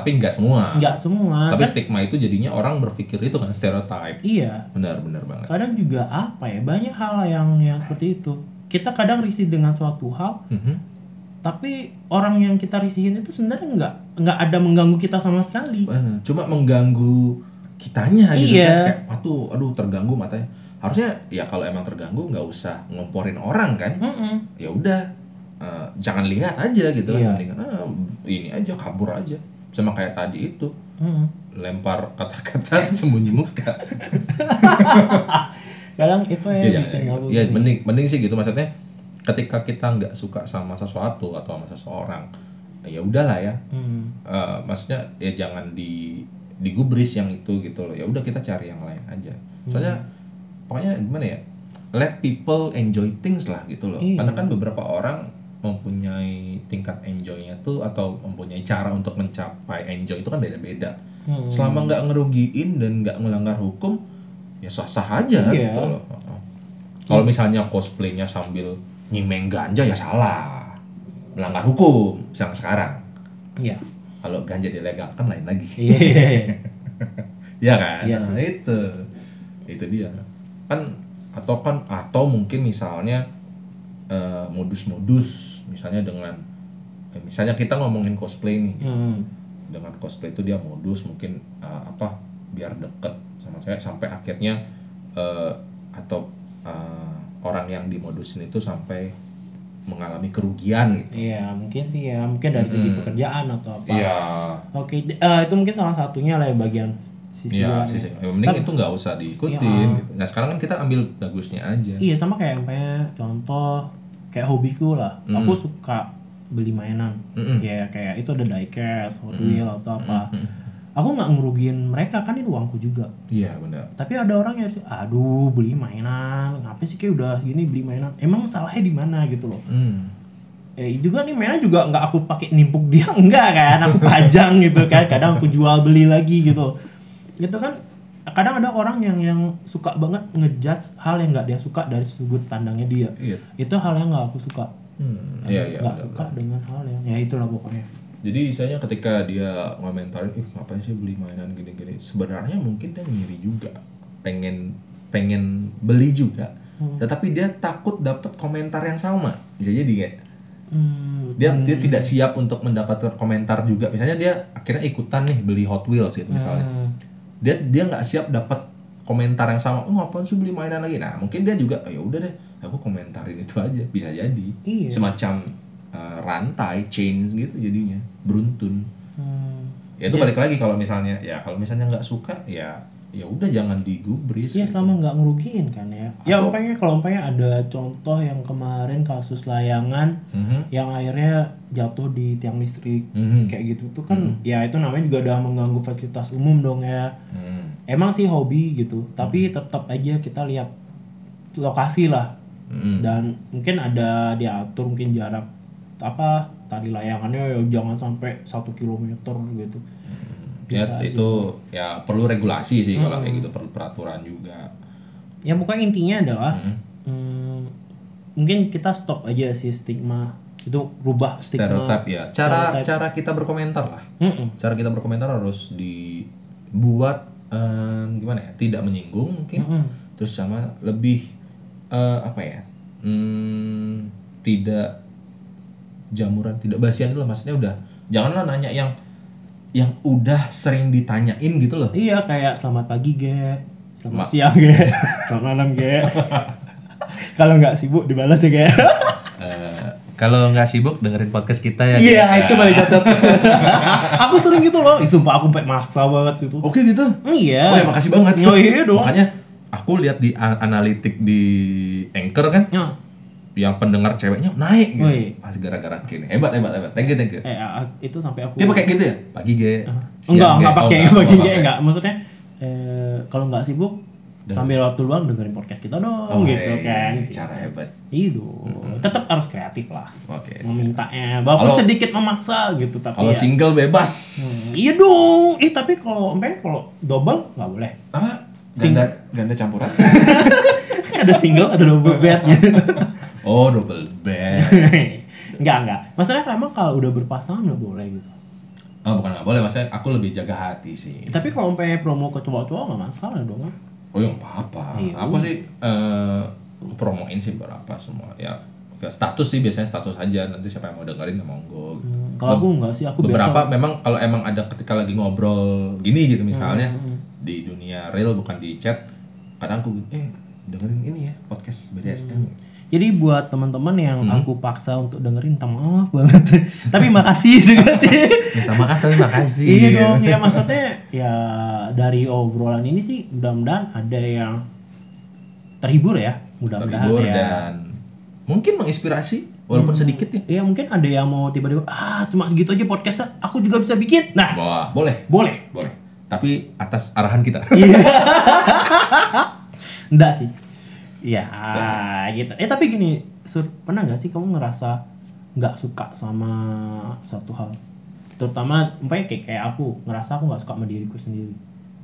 Speaker 3: Tapi nggak semua.
Speaker 4: nggak semua
Speaker 3: Tapi
Speaker 4: Kan-
Speaker 3: stigma itu jadinya orang berpikir itu kan stereotype.
Speaker 4: iya
Speaker 3: Benar-benar banget.
Speaker 4: kadang juga apa ya banyak hal yang yang seperti itu kita kadang risih dengan suatu hal
Speaker 3: Hmm,
Speaker 4: tapi orang yang kita risihin itu sebenarnya nggak nggak ada mengganggu kita sama sekali
Speaker 3: Benar. Cuma mengganggu kitanya gitu
Speaker 4: Iya.
Speaker 3: kan. Kayak, aduh, aduh terganggu matanya. Harusnya ya kalau emang terganggu nggak usah ngomporin orang kan. Ya udah, eh, jangan lihat aja gitu. kan.
Speaker 4: Iya.
Speaker 3: Mendingan, ah, ini aja kabur aja. Sama kayak tadi itu.
Speaker 4: Mm-mm.
Speaker 3: Lempar kata-kata (laughs) sembunyi muka.
Speaker 4: kadang itu ya,
Speaker 3: Iya,
Speaker 4: bikin
Speaker 3: ya,
Speaker 4: aku
Speaker 3: ya,
Speaker 4: gini.
Speaker 3: mending mending sih gitu maksudnya ketika kita nggak suka sama sesuatu atau sama seseorang ya udahlah ya
Speaker 4: Hmm.
Speaker 3: Eh, maksudnya ya jangan di digubris yang itu gitu loh ya udah kita cari yang lain aja
Speaker 4: Hmm.
Speaker 3: soalnya pokoknya gimana ya let people enjoy things lah gitu loh
Speaker 4: Iya.
Speaker 3: karena kan beberapa orang mempunyai tingkat enjoynya tuh atau mempunyai cara untuk mencapai enjoy itu kan beda-beda
Speaker 4: Hmm.
Speaker 3: selama nggak ngerugiin dan nggak melanggar hukum ya sah-sah aja
Speaker 4: Iya.
Speaker 3: gitu loh kalau misalnya cosplaynya sambil nyimeng ganja ya salah melanggar hukum sekarang sekarang (laughs)
Speaker 4: Iya.
Speaker 3: kalau ganja dilegalkan lain lagi (laughs)
Speaker 4: Iya, iya, iya.
Speaker 3: Iya kan?
Speaker 4: Iya
Speaker 3: Nah, itu. Itu dia. Kan atau kan atau mungkin misalnya eh, modus-modus misalnya dengan eh, misalnya kita ngomongin cosplay nih.
Speaker 4: Hmm.
Speaker 3: Dengan cosplay itu dia modus mungkin eh, apa biar deket sama saya sampai akhirnya eh, atau eh, orang yang dimodusin itu sampai mengalami kerugian gitu.
Speaker 4: Iya mungkin sih ya mungkin dari segi pekerjaan atau apa.
Speaker 3: Hmm. Iya.
Speaker 4: Oke d- eh, itu mungkin salah satunya lah ya bagian sisi
Speaker 3: Iya,
Speaker 4: gelap
Speaker 3: sih,
Speaker 4: ya.
Speaker 3: sih. Ya, mending itu nggak usah diikutin. gitu. Nah sekarang kan kita ambil bagusnya aja.
Speaker 4: Iya sama kayak umpamanya contoh kayak hobiku lah.
Speaker 3: Hmm.
Speaker 4: Aku suka beli mainan. Ya kayak itu ada diecast,
Speaker 3: Hmm.
Speaker 4: Hot Wheel atau apa. Aku nggak ngerugiin mereka kan itu uangku juga.
Speaker 3: Iya benar.
Speaker 4: Tapi ada orang yang aduh beli mainan, ngapain sih kayak udah gini beli mainan. Emang salahnya di mana gitu loh.
Speaker 3: Hmm.
Speaker 4: Eh juga nih mainan juga nggak aku pakai nimpuk dia (laughs) enggak kan, aku pajang gitu kan. Kadang aku jual beli lagi gitu. Gitu kan kadang ada orang yang yang suka banget ngejudge hal yang nggak dia suka dari sudut pandangnya dia
Speaker 3: Iya.
Speaker 4: itu hal yang nggak aku suka
Speaker 3: Hmm. Iya iya.
Speaker 4: nggak
Speaker 3: benar.
Speaker 4: suka dengan hal yang ya itulah pokoknya
Speaker 3: Jadi misalnya ketika dia ngomentarin, ih ngapain sih beli mainan gini-gini? Sebenarnya mungkin dia ngiri juga, pengen pengen beli juga.
Speaker 4: Hmm.
Speaker 3: Tetapi dia takut dapat komentar yang sama. Bisa jadi kayak
Speaker 4: hmm,
Speaker 3: dia dia tidak siap untuk mendapatkan komentar juga. Misalnya dia akhirnya ikutan nih beli Hot Wheels gitu misalnya.
Speaker 4: Hmm.
Speaker 3: Dia dia nggak siap dapat komentar yang sama. Oh, ngapain sih beli mainan lagi? Nah, mungkin dia juga "Oh, ya udah deh, aku komentarin itu aja. Bisa jadi.
Speaker 4: Iya.
Speaker 3: Semacam eh, rantai chain gitu jadinya, beruntun.
Speaker 4: hmm.
Speaker 3: Ya itu balik lagi kalau misalnya ya kalau misalnya nggak suka ya ya udah jangan digubris. gitu.
Speaker 4: ya selama nggak ngerugiin kan ya ya umpamanya kalau umpamanya ada contoh yang kemarin kasus layangan
Speaker 3: Mhm.
Speaker 4: yang akhirnya jatuh di tiang listrik
Speaker 3: Mhm.
Speaker 4: kayak gitu tuh kan ya itu namanya juga udah mengganggu fasilitas umum dong ya
Speaker 3: Hmm.
Speaker 4: emang sih hobi gitu tapi tetap aja kita lihat lokasi lah
Speaker 3: Hmm.
Speaker 4: dan mungkin ada diatur mungkin jarak apa tali layangannya ya jangan sampai satu kilometer gitu
Speaker 3: Ya, itu ya perlu regulasi sih kalau
Speaker 4: Hmm.
Speaker 3: kayak gitu perlu peraturan juga.
Speaker 4: ya pokoknya intinya adalah hmm, mungkin kita stop aja sih stigma itu rubah stigma
Speaker 3: stereotip ya cara cara kita berkomentar lah
Speaker 4: Mm-mm.
Speaker 3: cara kita berkomentar harus dibuat em, gimana ya tidak menyinggung mungkin terus sama lebih eh, apa ya Hmm, tidak jamuran tidak basian dulu maksudnya udah janganlah nanya yang yang udah sering ditanyain gitu loh
Speaker 4: iya kayak selamat pagi ge selamat siang ge (laughs) selamat malam
Speaker 3: (laughs)
Speaker 4: ge kalau nggak sibuk dibalas ya ge
Speaker 3: Eh, kalau nggak sibuk dengerin podcast kita ya
Speaker 4: iya itu paling cocok (laughs) aku sering gitu loh Ih, sumpah aku sampai maksa banget situ
Speaker 3: oke gitu
Speaker 4: iya
Speaker 3: Oh ya makasih banget.
Speaker 4: oh
Speaker 3: (laughs)
Speaker 4: iya dong
Speaker 3: Makanya aku lihat di a- analitik di Anchor kan
Speaker 4: Ya.
Speaker 3: yang pendengar ceweknya naik gitu.
Speaker 4: Wih.
Speaker 3: Pas gara-gara gini. Hebat hebat hebat. Thank you thank you.
Speaker 4: eh a- itu sampai aku
Speaker 3: Dia pakai gitu ya? Pagi ge. siang ge.
Speaker 4: enggak
Speaker 3: Oh,
Speaker 4: enggak pakai
Speaker 3: enggak,
Speaker 4: enggak
Speaker 3: enggak
Speaker 4: pakai
Speaker 3: pakai.
Speaker 4: enggak maksudnya eh, kalau nggak sibuk sambil waktu luang dengerin podcast kita dong
Speaker 3: Oh,
Speaker 4: gitu
Speaker 3: iya,
Speaker 4: kan
Speaker 3: iya, Cara hebat.
Speaker 4: iya dong. tetap harus kreatif lah
Speaker 3: Oke.
Speaker 4: Iya. memintanya walaupun
Speaker 3: Kalau-
Speaker 4: sedikit memaksa gitu tapi
Speaker 3: Kalau
Speaker 4: ya.
Speaker 3: single bebas.
Speaker 4: iya dong eh tapi kalau emang kalau double nggak boleh (laughs)
Speaker 3: Apa? Ganda ganda campuran.
Speaker 4: ada single ada double gitu. bednya
Speaker 3: oh, double bed.
Speaker 4: (laughs) enggak enggak maksudnya emang kalau udah berpasangan nggak boleh gitu
Speaker 3: Oh, bukan nggak boleh maksudnya aku lebih jaga hati sih.
Speaker 4: tapi kalau emang promo ke cowok-cowok nggak masalah dong ah.
Speaker 3: Oh ya nggak apa-apa.
Speaker 4: Iya.
Speaker 3: Aku sih eh aku promoin sih berapa semua ya. ke status sih biasanya status aja nanti siapa yang mau dengerin ya monggo gitu.
Speaker 4: kalau aku nggak sih aku biasa
Speaker 3: Beberapa memang kalau emang ada ketika lagi ngobrol gini gitu misalnya
Speaker 4: Hmm,
Speaker 3: di dunia real bukan di chat kadang aku eh dengerin ini ya podcast BDSM.
Speaker 4: Hmm. Jadi buat teman-teman yang
Speaker 3: Hmm.
Speaker 4: aku paksa untuk dengerin, minta maaf banget. (laughs) Tapi makasih (laughs) juga sih.
Speaker 3: Minta maaf tapi makasih.
Speaker 4: iya dong, ya maksudnya ya dari obrolan ini sih mudah-mudahan ada yang terhibur ya, mudah-mudahan
Speaker 3: Terhibur
Speaker 4: ya.
Speaker 3: dan mungkin menginspirasi walaupun sedikit ya.
Speaker 4: Ya mungkin ada yang mau tiba-tiba ah cuma segitu aja podcastnya, aku juga bisa bikin. Nah,
Speaker 3: Wah, boleh.
Speaker 4: boleh. Iya.
Speaker 3: Boleh. Tapi atas arahan kita.
Speaker 4: Enggak sih. Ya, gitu. Eh tapi gini, Sur, pernah nggak sih kamu ngerasa nggak suka sama suatu hal? Terutama umpamanya kayak kayak aku ngerasa aku nggak suka sama diriku sendiri.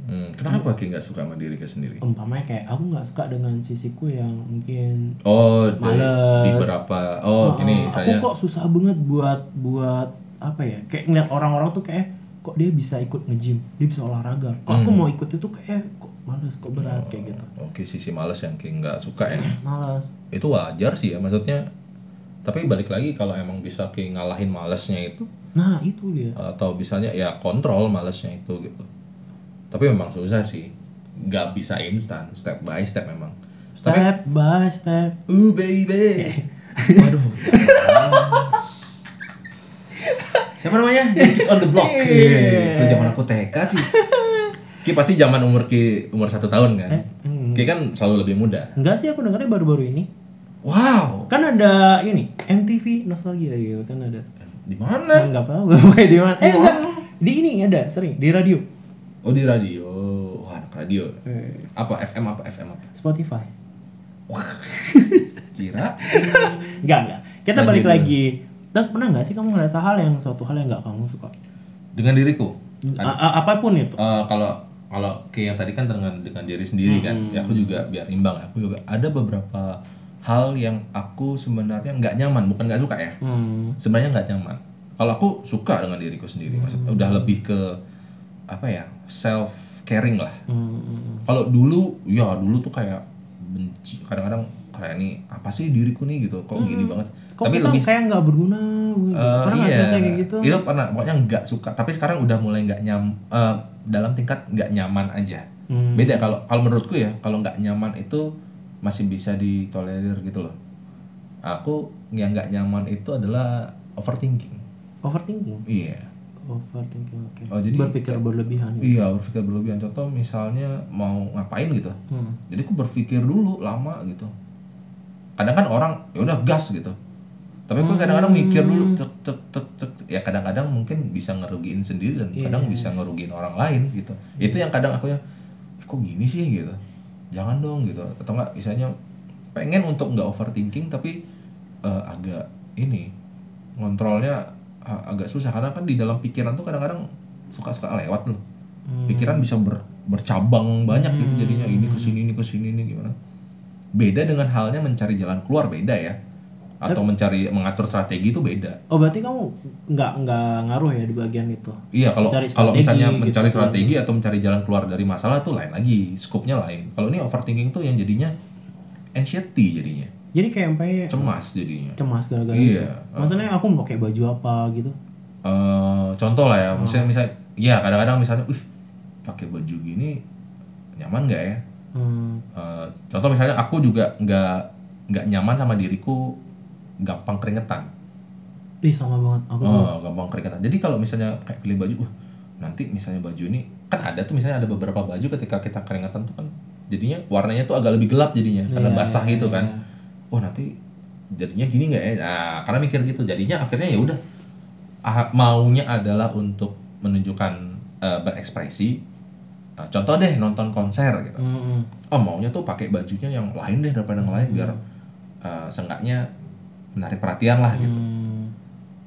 Speaker 3: Hmm, kenapa Ki nggak suka sama diri kita sendiri?
Speaker 4: Umpamanya kayak aku nggak suka dengan sisiku yang mungkin
Speaker 3: Oh, di,
Speaker 4: Males.
Speaker 3: di berapa? Oh, ini
Speaker 4: "Ah,
Speaker 3: saya.
Speaker 4: aku kok susah banget buat buat apa ya? Kayak ngeliat orang-orang tuh kayak kok dia bisa ikut nge-gym dia bisa olahraga kok aku
Speaker 3: Hmm.
Speaker 4: mau ikut itu kayak eh, kok males kok berat kayak gitu
Speaker 3: Oke sisi males yang kayak nggak suka ya
Speaker 4: males
Speaker 3: itu wajar sih ya maksudnya tapi balik lagi kalau emang bisa kayak ngalahin malesnya itu
Speaker 4: nah itu dia
Speaker 3: atau misalnya ya kontrol malesnya itu gitu tapi memang susah sih nggak bisa instan step by step memang step
Speaker 4: step by step
Speaker 3: uh baby (laughs) waduh siapa namanya The Kids on the Block itu zaman aku TK sih Ki pasti zaman umur Ki umur satu tahun kan Ki kan selalu lebih muda
Speaker 4: enggak sih aku dengarnya baru-baru ini
Speaker 3: wow
Speaker 4: kan ada ini MTV nostalgia gitu kan ada
Speaker 3: di mana
Speaker 4: nggak tahu nggak pakai di mana eh enggak di ini ada sering di radio
Speaker 3: oh di radio wah anak radio apa FM apa FM apa (laughs)
Speaker 4: Spotify
Speaker 3: kira
Speaker 4: enggak enggak kita balik lagi terus pernah nggak sih kamu ngerasa hal yang suatu hal yang nggak kamu suka
Speaker 3: dengan diriku
Speaker 4: A- a- apapun itu
Speaker 3: Eh, kalau kalau kayak yang tadi kan dengan dengan diri sendiri kan ya aku juga biar imbang aku juga ada beberapa hal yang aku sebenarnya nggak nyaman bukan nggak suka ya
Speaker 4: hmm.
Speaker 3: sebenarnya nggak nyaman kalau aku suka dengan diriku sendiri maksud udah lebih ke apa ya self caring lah kalau dulu ya dulu tuh kayak benci kadang-kadang kayak ini apa sih diriku nih gitu kok gini banget
Speaker 4: Hmm. kok kita kayak nggak berguna gitu.
Speaker 3: Eh,
Speaker 4: pernah
Speaker 3: iya.
Speaker 4: nggak sih ngerasa kayak gitu
Speaker 3: Itu pernah, pokoknya nggak suka. Tapi sekarang udah mulai nggak nyam, eh, dalam tingkat nggak nyaman aja.
Speaker 4: Hmm.
Speaker 3: Beda kalau kalau menurutku ya, kalau nggak nyaman itu masih bisa ditolerir gitu loh. Aku yang nggak nyaman itu adalah overthinking.
Speaker 4: overthinking
Speaker 3: Iya.
Speaker 4: overthinking oke
Speaker 3: Oh, jadi-
Speaker 4: berpikir berlebihan gitu.
Speaker 3: Iya, berpikir berlebihan. Contoh misalnya mau ngapain gitu.
Speaker 4: Hmm.
Speaker 3: Jadi aku berpikir dulu lama gitu. Kadang kan orang ya udah gas gitu. Tapi aku kadang-kadang mikir dulu tek tek tek tek. Ya kadang-kadang mungkin bisa ngerugiin sendiri dan kadang bisa ngerugiin orang lain gitu. Itu yang kadang aku ya "Ih, kok gini sih gitu. Jangan dong gitu. Atau enggak misalnya pengen untuk nggak overthinking tapi eh, agak ini ngontrolnya a- agak susah karena kan di dalam pikiran tuh kadang-kadang suka-suka lewat loh.
Speaker 4: Hmm.
Speaker 3: Pikiran bisa ber- bercabang banyak gitu jadinya ini ke sini ini ke sini ini gimana. Beda dengan halnya mencari jalan keluar beda ya. Atau mencari mengatur strategi itu beda.
Speaker 4: oh berarti kamu nggak nggak ngaruh ya di bagian itu
Speaker 3: Iya kalau
Speaker 4: Mencari
Speaker 3: kalau
Speaker 4: strategi
Speaker 3: misalnya
Speaker 4: gitu
Speaker 3: mencari
Speaker 4: kan.
Speaker 3: strategi atau mencari jalan keluar dari masalah tuh lain lagi, skopnya lain. Kalau ini overthinking tuh yang jadinya anxiety jadinya,
Speaker 4: jadi kayak sampai
Speaker 3: cemas jadinya.
Speaker 4: cemas gara-gara
Speaker 3: Iya.
Speaker 4: itu. maksudnya aku mau pakai baju apa gitu
Speaker 3: eh contoh lah ya misalnya misalnya ya kadang-kadang misalnya uh pakai baju gini nyaman nggak ya
Speaker 4: hmm.
Speaker 3: Eh, contoh misalnya aku juga nggak nggak nyaman sama diriku gampang keringetan
Speaker 4: Ih sama banget aku sama.
Speaker 3: Oh, gampang keringetan jadi kalau misalnya kayak pilih baju wah nanti misalnya baju ini kan ada tuh misalnya ada beberapa baju ketika kita keringetan tuh kan jadinya warnanya tuh agak lebih gelap jadinya karena basah gitu kan wah nanti jadinya gini nggak ya nah karena mikir gitu jadinya akhirnya ya udah ah, maunya adalah untuk menunjukkan eh, berekspresi Nah, contoh deh nonton konser gitu
Speaker 4: Hmm.
Speaker 3: oh maunya tuh pakai bajunya yang lain deh daripada yang lain biar uh, seenggaknya menarik perhatian lah gitu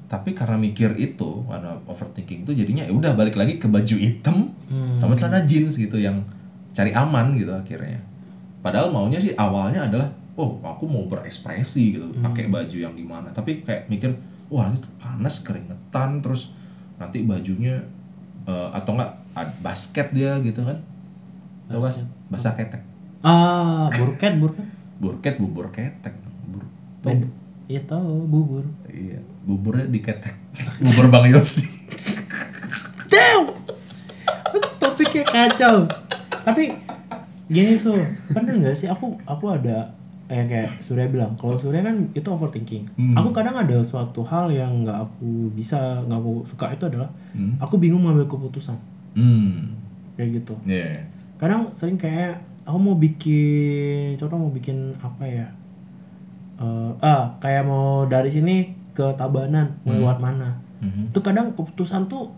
Speaker 3: tapi karena mikir itu karena overthinking itu jadinya ya udah balik lagi ke baju hitam
Speaker 4: Hmm.
Speaker 3: sama celana jeans gitu yang cari aman gitu akhirnya padahal maunya sih awalnya adalah oh aku mau berekspresi gitu pakai baju yang gimana tapi kayak mikir wah ini panas keringetan terus nanti bajunya uh, atau enggak ad- basket dia gitu kan Tau bas basah ketek
Speaker 4: ah burket burket
Speaker 3: burket bubur ketek bubur tau
Speaker 4: Beda. Iya tahu bubur.
Speaker 3: iya buburnya diketek bubur bang Yosi
Speaker 4: Damn. Topiknya kacau. Tapi gini so, bener nggak sih aku aku ada eh, kayak Surya bilang kalau Surya kan itu overthinking.
Speaker 3: Hmm.
Speaker 4: Aku kadang ada suatu hal yang nggak aku bisa nggak aku suka itu adalah aku bingung ngambil keputusan
Speaker 3: hmm
Speaker 4: kayak gitu.
Speaker 3: iya
Speaker 4: kadang sering kayak aku mau bikin contoh mau bikin apa ya Eh, ah kayak mau dari sini ke Tabanan
Speaker 3: Hmm.
Speaker 4: mau lewat mana itu kadang keputusan tuh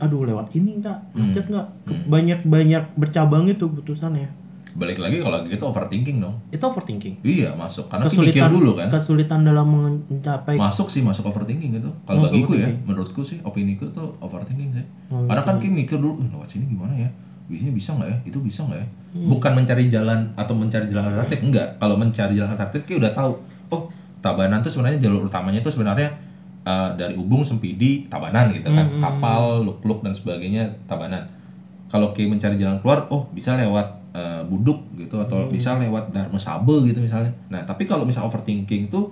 Speaker 4: aduh lewat ini enggak
Speaker 3: Hmm.
Speaker 4: macet enggak banyak banyak bercabang itu keputusannya
Speaker 3: balik lagi kalau gitu overthinking dong
Speaker 4: itu overthinking
Speaker 3: iya masuk karena Ki mikir
Speaker 4: kesulitan
Speaker 3: dulu kan
Speaker 4: kesulitan dalam mencapai
Speaker 3: masuk sih masuk overthinking itu kalau bagiku ya menurutku sih opini ku tuh overthinking sih karena kan Ki mikir dulu "Eh, lewat sini gimana ya biasanya bisa nggak ya itu bisa nggak ya bukan mencari jalan atau mencari jalan alternatif enggak kalau mencari jalan alternatif Ki udah tahu oh tabanan tuh sebenarnya jalur utamanya tuh sebenarnya eh, dari Ubung Sempidi Tabanan gitu kan kapal luk-luk dan sebagainya Tabanan kalau Ki mencari jalan keluar oh bisa lewat eh, Buduk gitu atau bisa lewat Dharma Sabe gitu misalnya nah tapi kalau misal overthinking tuh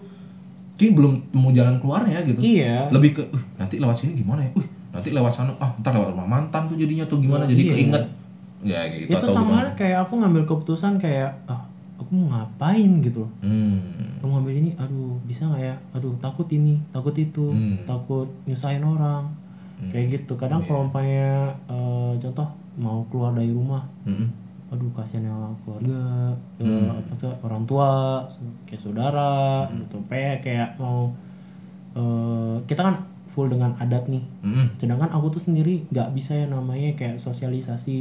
Speaker 3: Ki belum temu jalan keluarnya gitu
Speaker 4: Iya.
Speaker 3: lebih ke "Uh, nanti lewat sini gimana ya uh nanti lewat sana ah ntar lewat rumah mantan tuh jadinya tuh gimana jadi keinget ya kayak gitu
Speaker 4: Iya.
Speaker 3: atau
Speaker 4: itu sama
Speaker 3: gimana.
Speaker 4: halnya kayak aku ngambil keputusan kayak ah aku mau ngapain gitu loh
Speaker 3: hmm.
Speaker 4: aku ngambil ini aduh bisa nggak ya aduh takut ini takut itu
Speaker 3: Hmm.
Speaker 4: takut nyusahin orang kayak gitu kadang kalau umpamanya eh, contoh mau keluar dari rumah
Speaker 3: Mm-mm.
Speaker 4: aduh kasihan ya keluarga ya, apa tuh, orang tua kayak saudara gitu kayak kayak mau eh, kita kan full dengan adat nih
Speaker 3: Mm-mm.
Speaker 4: sedangkan aku tuh sendiri nggak bisa yang namanya kayak sosialisasi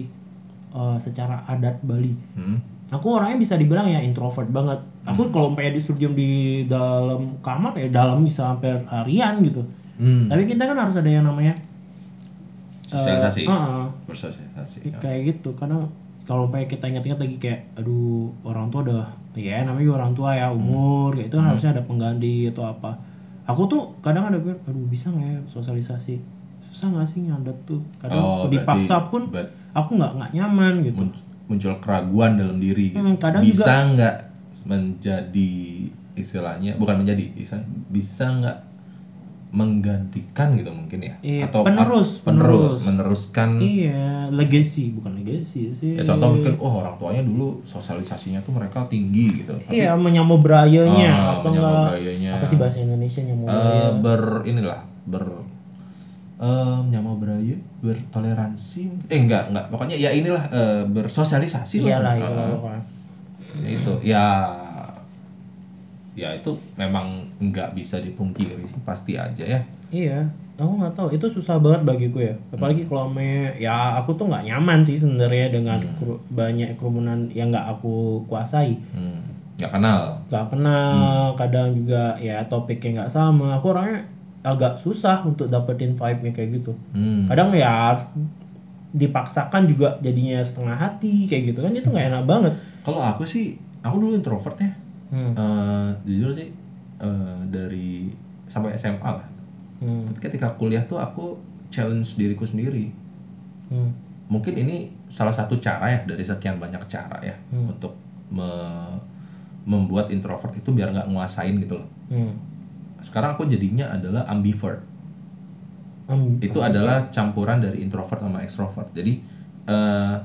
Speaker 4: eh, secara adat Bali
Speaker 3: Mm-mm.
Speaker 4: aku orangnya bisa dibilang ya introvert banget
Speaker 3: Hmm.
Speaker 4: aku kalau umpamanya disuruh diem di dalam kamar ya dalam bisa hampir harian gitu
Speaker 3: Hmm.
Speaker 4: tapi kita kan harus ada yang namanya eh,
Speaker 3: sosialisasi
Speaker 4: ah,
Speaker 3: bersosialisasi
Speaker 4: Ya, kayak gitu karena kalau kayak kita ingat-ingat lagi kayak aduh orang tua udah ya namanya juga orang tua ya
Speaker 3: Hmm.
Speaker 4: umur kayak itu kan harusnya ada pengganti atau apa aku tuh kadang ada bilang aduh bisa nggak ya sosialisasi susah nggak sih nyadat tuh kadang
Speaker 3: Oh, berarti-
Speaker 4: dipaksa pun
Speaker 3: ber-
Speaker 4: aku nggak nggak nyaman gitu
Speaker 3: Mun- muncul keraguan dalam diri gitu.
Speaker 4: Hmm, kadang
Speaker 3: bisa nggak menjadi istilahnya bukan menjadi istilah bisa nggak menggantikan gitu mungkin ya
Speaker 4: Iya,
Speaker 3: atau
Speaker 4: penerus,
Speaker 3: at- penerus,
Speaker 4: penerus.
Speaker 3: meneruskan
Speaker 4: iya legacy bukan legacy sih
Speaker 3: ya contoh mungkin oh orang tuanya dulu sosialisasinya tuh mereka tinggi gitu tapi
Speaker 4: iya menyamobrayanya
Speaker 3: Ah,
Speaker 4: atau Iya, enggak
Speaker 3: menyamobrayanya.
Speaker 4: apa sih bahasa Indonesia nyamobraya
Speaker 3: eh, ber inilah ber eh menyamau berayu bertoleransi eh enggak enggak pokoknya ya inilah eh, bersosialisasi
Speaker 4: iyalah
Speaker 3: Eh,
Speaker 4: itu
Speaker 3: eh. Ya itu ya ya itu memang nggak bisa dipungkiri sih pasti aja ya
Speaker 4: Iya, aku nggak tahu. Itu susah banget bagiku ya. Apalagi kalau me, ya aku tuh nggak nyaman sih sebenarnya dengan keru- banyak kerumunan yang nggak aku kuasai.
Speaker 3: Hmm, nggak kenal
Speaker 4: Gak kenal, kadang juga ya topiknya nggak sama. Aku orangnya agak susah untuk dapetin vibe-nya kayak gitu.
Speaker 3: Hmm.
Speaker 4: Kadang ya harus dipaksakan juga jadinya setengah hati kayak gitu kan itu nggak enak banget.
Speaker 3: kalau aku sih aku dulu introvert ya
Speaker 4: Hmm.
Speaker 3: Eh, jujur sih eh, dari sampai SMA lah
Speaker 4: Hmm.
Speaker 3: tapi ketika kuliah tuh aku challenge diriku sendiri
Speaker 4: Hmm.
Speaker 3: mungkin ini salah satu cara ya dari sekian banyak cara ya untuk me- membuat introvert itu biar nggak nguasain gitu loh
Speaker 4: Hmm.
Speaker 3: sekarang aku jadinya adalah ambivert
Speaker 4: Am-
Speaker 3: itu adalah campuran dari introvert sama ekstrovert jadi eh,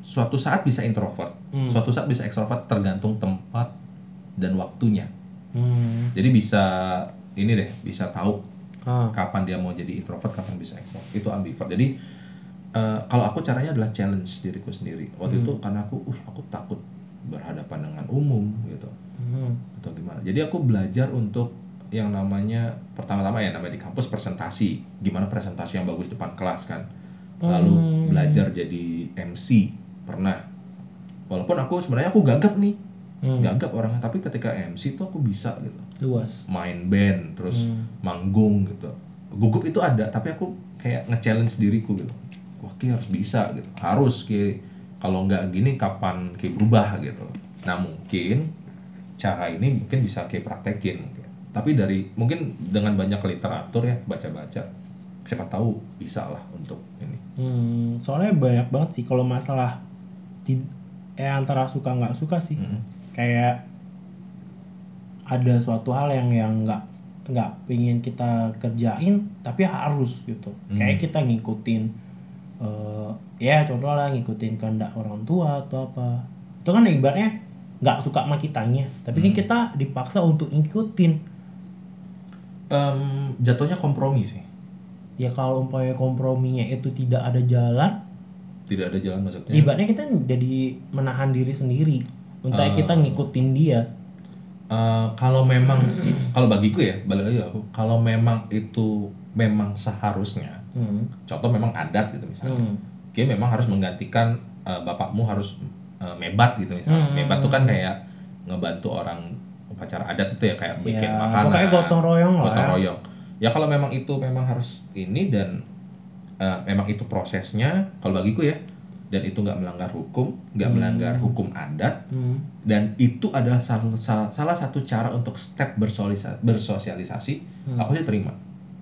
Speaker 3: suatu saat bisa introvert suatu saat bisa ekstrovert tergantung tempat dan waktunya
Speaker 4: Hmm.
Speaker 3: jadi bisa ini deh bisa tahu
Speaker 4: Ah.
Speaker 3: kapan dia mau jadi introvert kapan bisa ekstrovert itu ambivert jadi eh, kalau aku caranya adalah challenge diriku sendiri waktu itu karena aku uh aku takut berhadapan dengan umum gitu
Speaker 4: Hmm.
Speaker 3: atau gimana. Jadi aku belajar untuk yang namanya pertama-tama ya namanya di kampus presentasi, gimana presentasi yang bagus depan kelas kan. Lalu belajar jadi MC pernah. Walaupun aku sebenarnya aku gagap nih. Gagap orangnya, tapi ketika MC tuh aku bisa gitu.
Speaker 4: Luas.
Speaker 3: Main band, terus manggung gitu. Gugup itu ada, tapi aku kayak nge-challenge diriku gitu. Wah, Ki harus bisa gitu. Harus Ki kalau nggak gini kapan Ki berubah gitu. Nah, mungkin cara ini mungkin bisa kayak praktekin mungkin. tapi dari mungkin dengan banyak literatur ya baca-baca siapa tahu bisa lah untuk ini
Speaker 4: Hmm, soalnya banyak banget sih kalau masalah tid- eh antara suka nggak suka sih. Kayak ada suatu hal yang yang nggak nggak pingin kita kerjain tapi harus gitu. Kayak kita ngikutin eh ya contoh lah ngikutin kehendak orang tua atau apa. Itu kan ibaratnya nggak suka sama kitanya, tapi kan kita dipaksa untuk ngikutin.
Speaker 3: Em, jatuhnya kompromi sih
Speaker 4: Ya kalau umpamanya komprominya itu tidak ada jalan,
Speaker 3: tidak ada jalan masuknya
Speaker 4: Ibaratnya kita jadi menahan diri sendiri untuk
Speaker 3: Ah.
Speaker 4: kita ngikutin dia.
Speaker 3: Eh, kalau memang sih kalau bagiku ya balik lagi aku kalau memang itu memang seharusnya contoh memang adat gitu misalnya
Speaker 4: Hmm.
Speaker 3: Oke memang harus menggantikan eh, bapakmu harus eh, mebat gitu misalnya
Speaker 4: Hmm.
Speaker 3: mebat tuh kan kayak ngebantu orang upacara adat itu ya kayak bikin
Speaker 4: Ya,
Speaker 3: makanan
Speaker 4: pokoknya gotong royong lah
Speaker 3: gotong
Speaker 4: ya.
Speaker 3: royong ya kalau memang itu memang harus ini dan eh, memang itu prosesnya kalau bagiku ya dan itu nggak melanggar hukum, nggak melanggar hukum adat, dan itu adalah sal- sal- salah satu cara untuk step bersolisa- bersosialisasi. Aku sih terima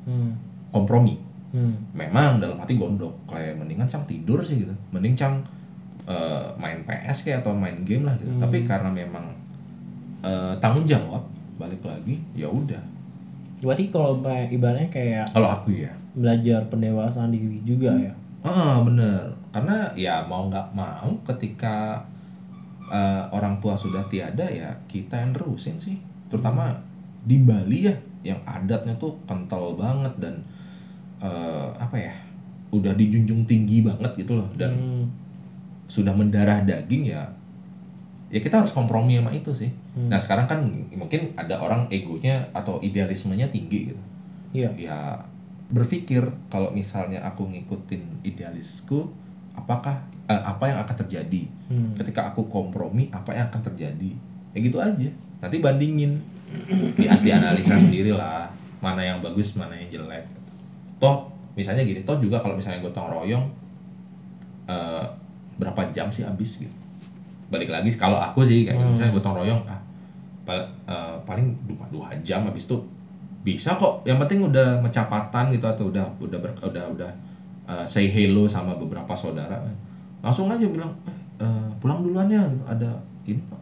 Speaker 4: Hmm.
Speaker 3: kompromi.
Speaker 4: Hmm.
Speaker 3: Memang dalam hati gondok, kayak mendingan cang tidur sih gitu, mending cang eh, main PS kayak atau main game lah gitu. Tapi karena memang eh, tanggung jawab balik lagi, ya udah.
Speaker 4: Berarti kalau kayak- ibaratnya kayak
Speaker 3: Kalau aku ya,
Speaker 4: belajar pendewasaan diri juga ya.
Speaker 3: Ah bener, karena ya mau nggak mau ketika eh, orang tua sudah tiada ya kita yang terusin sih, terutama di Bali ya yang adatnya tuh kental banget dan eh, apa ya udah dijunjung tinggi banget gitu loh
Speaker 4: Hmm.
Speaker 3: dan sudah mendarah daging ya ya kita harus kompromi sama itu sih. Nah sekarang kan mungkin ada orang egonya atau idealismenya tinggi gitu
Speaker 4: Iya.
Speaker 3: ya berpikir kalau misalnya aku ngikutin idealisku apakah eh, apa yang akan terjadi ketika aku kompromi apa yang akan terjadi ya gitu aja nanti bandingin di anti analisa sendiri lah mana yang bagus mana yang jelek toh misalnya gini toh juga kalau misalnya gotong royong eh, berapa jam sih habis gitu balik lagi kalau aku sih kayak gitu, misalnya gotong royong ah pal- eh, paling dua, dua jam habis itu bisa kok yang penting udah mecapatan gitu atau udah udah ber- udah udah eh, say hello sama beberapa saudara langsung aja bilang eh, eh, pulang duluan ya gitu. ada ini Pak.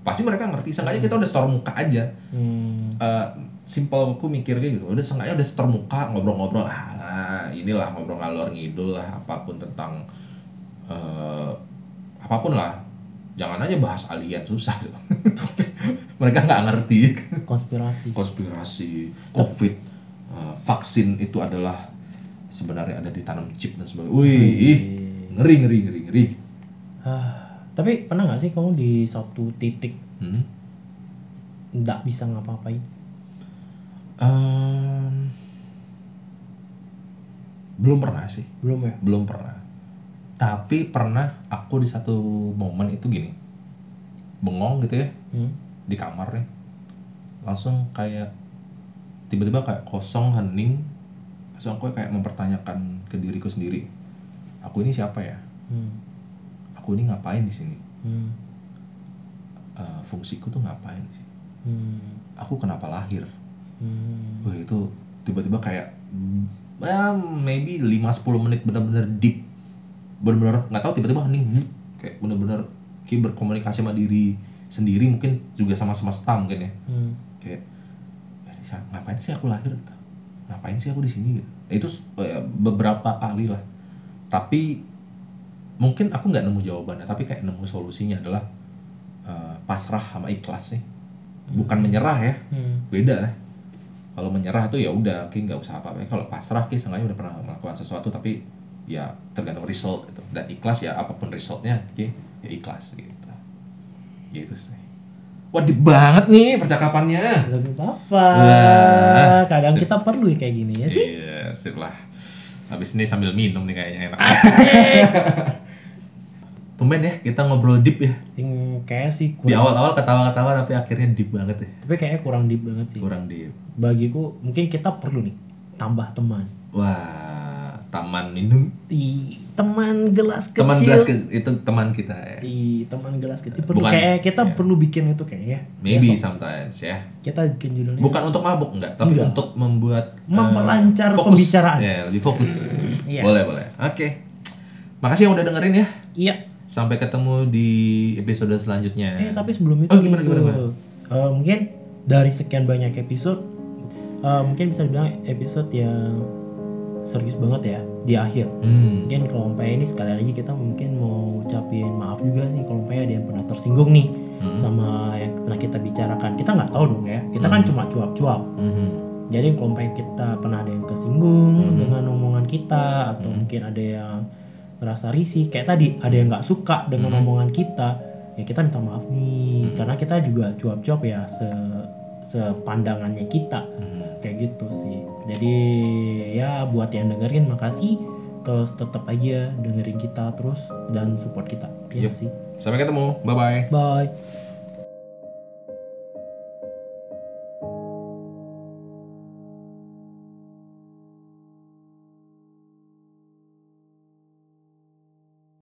Speaker 3: pasti mereka ngerti seenggaknya kita udah store muka aja
Speaker 4: Hmm.
Speaker 3: Eh, simple aku mikirnya gitu udah seenggaknya udah store muka ngobrol-ngobrol ah inilah ngobrol ngalor ngidul lah apapun tentang eh, apapun lah jangan aja bahas alien susah (laughs) mereka nggak ngerti
Speaker 4: Konspirasi.
Speaker 3: konspirasi covid eh, vaksin itu adalah sebenarnya ada di tanam chip dan sebagainya wih ih, ngeri ngeri ngeri ngeri Ah.
Speaker 4: Hah. Tapi pernah nggak sih kamu di satu titik
Speaker 3: Hmm.
Speaker 4: nggak bisa ngapa-ngapain?
Speaker 3: Em, belum pernah sih
Speaker 4: Belum ya?
Speaker 3: belum pernah tapi pernah aku di satu momen itu gini bengong gitu ya
Speaker 4: Hmm.
Speaker 3: di kamar nih langsung kayak tiba-tiba kayak kosong hening langsung aku kayak mempertanyakan ke diriku sendiri aku ini siapa ya
Speaker 4: Hmm.
Speaker 3: aku ini ngapain di sini
Speaker 4: Hmm.
Speaker 3: Eh, fungsiku tuh ngapain sih
Speaker 4: Hmm.
Speaker 3: aku kenapa lahir
Speaker 4: Hmm.
Speaker 3: Wah, itu tiba-tiba kayak mm, ya maybe 5-10 menit bener-bener deep bener-bener nggak tahu tiba-tiba hening vup, kayak bener-bener kayak berkomunikasi sama diri sendiri mungkin juga sama semesta mungkin ya
Speaker 4: Hmm.
Speaker 3: kayak "Ini siapa- ngapain sih aku lahir gitu ngapain sih aku di sini gitu itu eh, beberapa kali lah tapi mungkin aku nggak nemu jawabannya tapi kayak nemu solusinya adalah eh, pasrah sama ikhlas sih bukan menyerah ya
Speaker 4: Hmm.
Speaker 3: beda lah kalau menyerah tuh ya udah kayak nggak usah apa-apa kalau pasrah kayak seenggaknya udah pernah melakukan sesuatu tapi ya tergantung result gitu dan ikhlas ya apapun resultnya kayak ya ikhlas gitu gitu sih wajib banget nih percakapannya
Speaker 4: Gak apa-apa.
Speaker 3: Wah,
Speaker 4: Kadang
Speaker 3: sip.
Speaker 4: kita perlu kayak gini ya sih.
Speaker 3: Iya, sip lah. Habis ini sambil minum nih kayaknya enak. Tumben ya, kita ngobrol deep ya.
Speaker 4: Yang kayak
Speaker 3: Di
Speaker 4: sih kurang,
Speaker 3: awal-awal ketawa-ketawa tapi akhirnya deep banget ya.
Speaker 4: tapi kayaknya kurang deep banget sih.
Speaker 3: Kurang deep.
Speaker 4: Bagiku mungkin kita perlu nih tambah teman.
Speaker 3: Wah, taman minum.
Speaker 4: Di teman gelas kecil. Iya,
Speaker 3: Teman gelas ke- itu teman kita ya.
Speaker 4: Di teman gelas kecil. Perlu
Speaker 3: Bukan. Iya.
Speaker 4: kayak kita perlu bikin itu kayaknya. ya.
Speaker 3: Maybe sometimes ya.
Speaker 4: Kita bikin judulnya
Speaker 3: Bukan untuk mabuk enggak, tapi untuk membuat eh,
Speaker 4: Memperlancar
Speaker 3: fokus.
Speaker 4: pembicaraan.
Speaker 3: Ya, lebih fokus.
Speaker 4: Iya.
Speaker 3: Boleh, boleh. Oke. Makasih yang udah dengerin ya.
Speaker 4: Iya.
Speaker 3: Sampai ketemu di episode selanjutnya.
Speaker 4: Eh tapi sebelum itu
Speaker 3: Oh, gimana,
Speaker 4: Su,
Speaker 3: gimana, gimana?
Speaker 4: eh, mungkin dari sekian banyak episode eh, mungkin bisa dibilang episode yang serius banget ya di akhir.
Speaker 3: Hmm.
Speaker 4: Mungkin kalau umpamanya ini sekali lagi kita mungkin mau ucapin maaf juga sih kalau umpamanya ada yang pernah tersinggung nih sama yang pernah kita bicarakan. Kita nggak tahu dong ya. Kita kan cuma cuap-cuap.
Speaker 3: Mhm.
Speaker 4: Jadi kalau umpamanya kita pernah ada yang kesinggung dengan omongan kita atau mungkin ada yang ngerasa risih kayak tadi ada yang nggak suka dengan omongan kita ya kita minta maaf nih karena kita juga cuap-cuap ya se sepandangannya kita kayak gitu sih jadi ya buat yang dengerin makasih terus tetap aja dengerin kita terus dan support kita ya
Speaker 3: Yup.
Speaker 4: sih
Speaker 3: Sampai ketemu. Bye bye.
Speaker 4: bye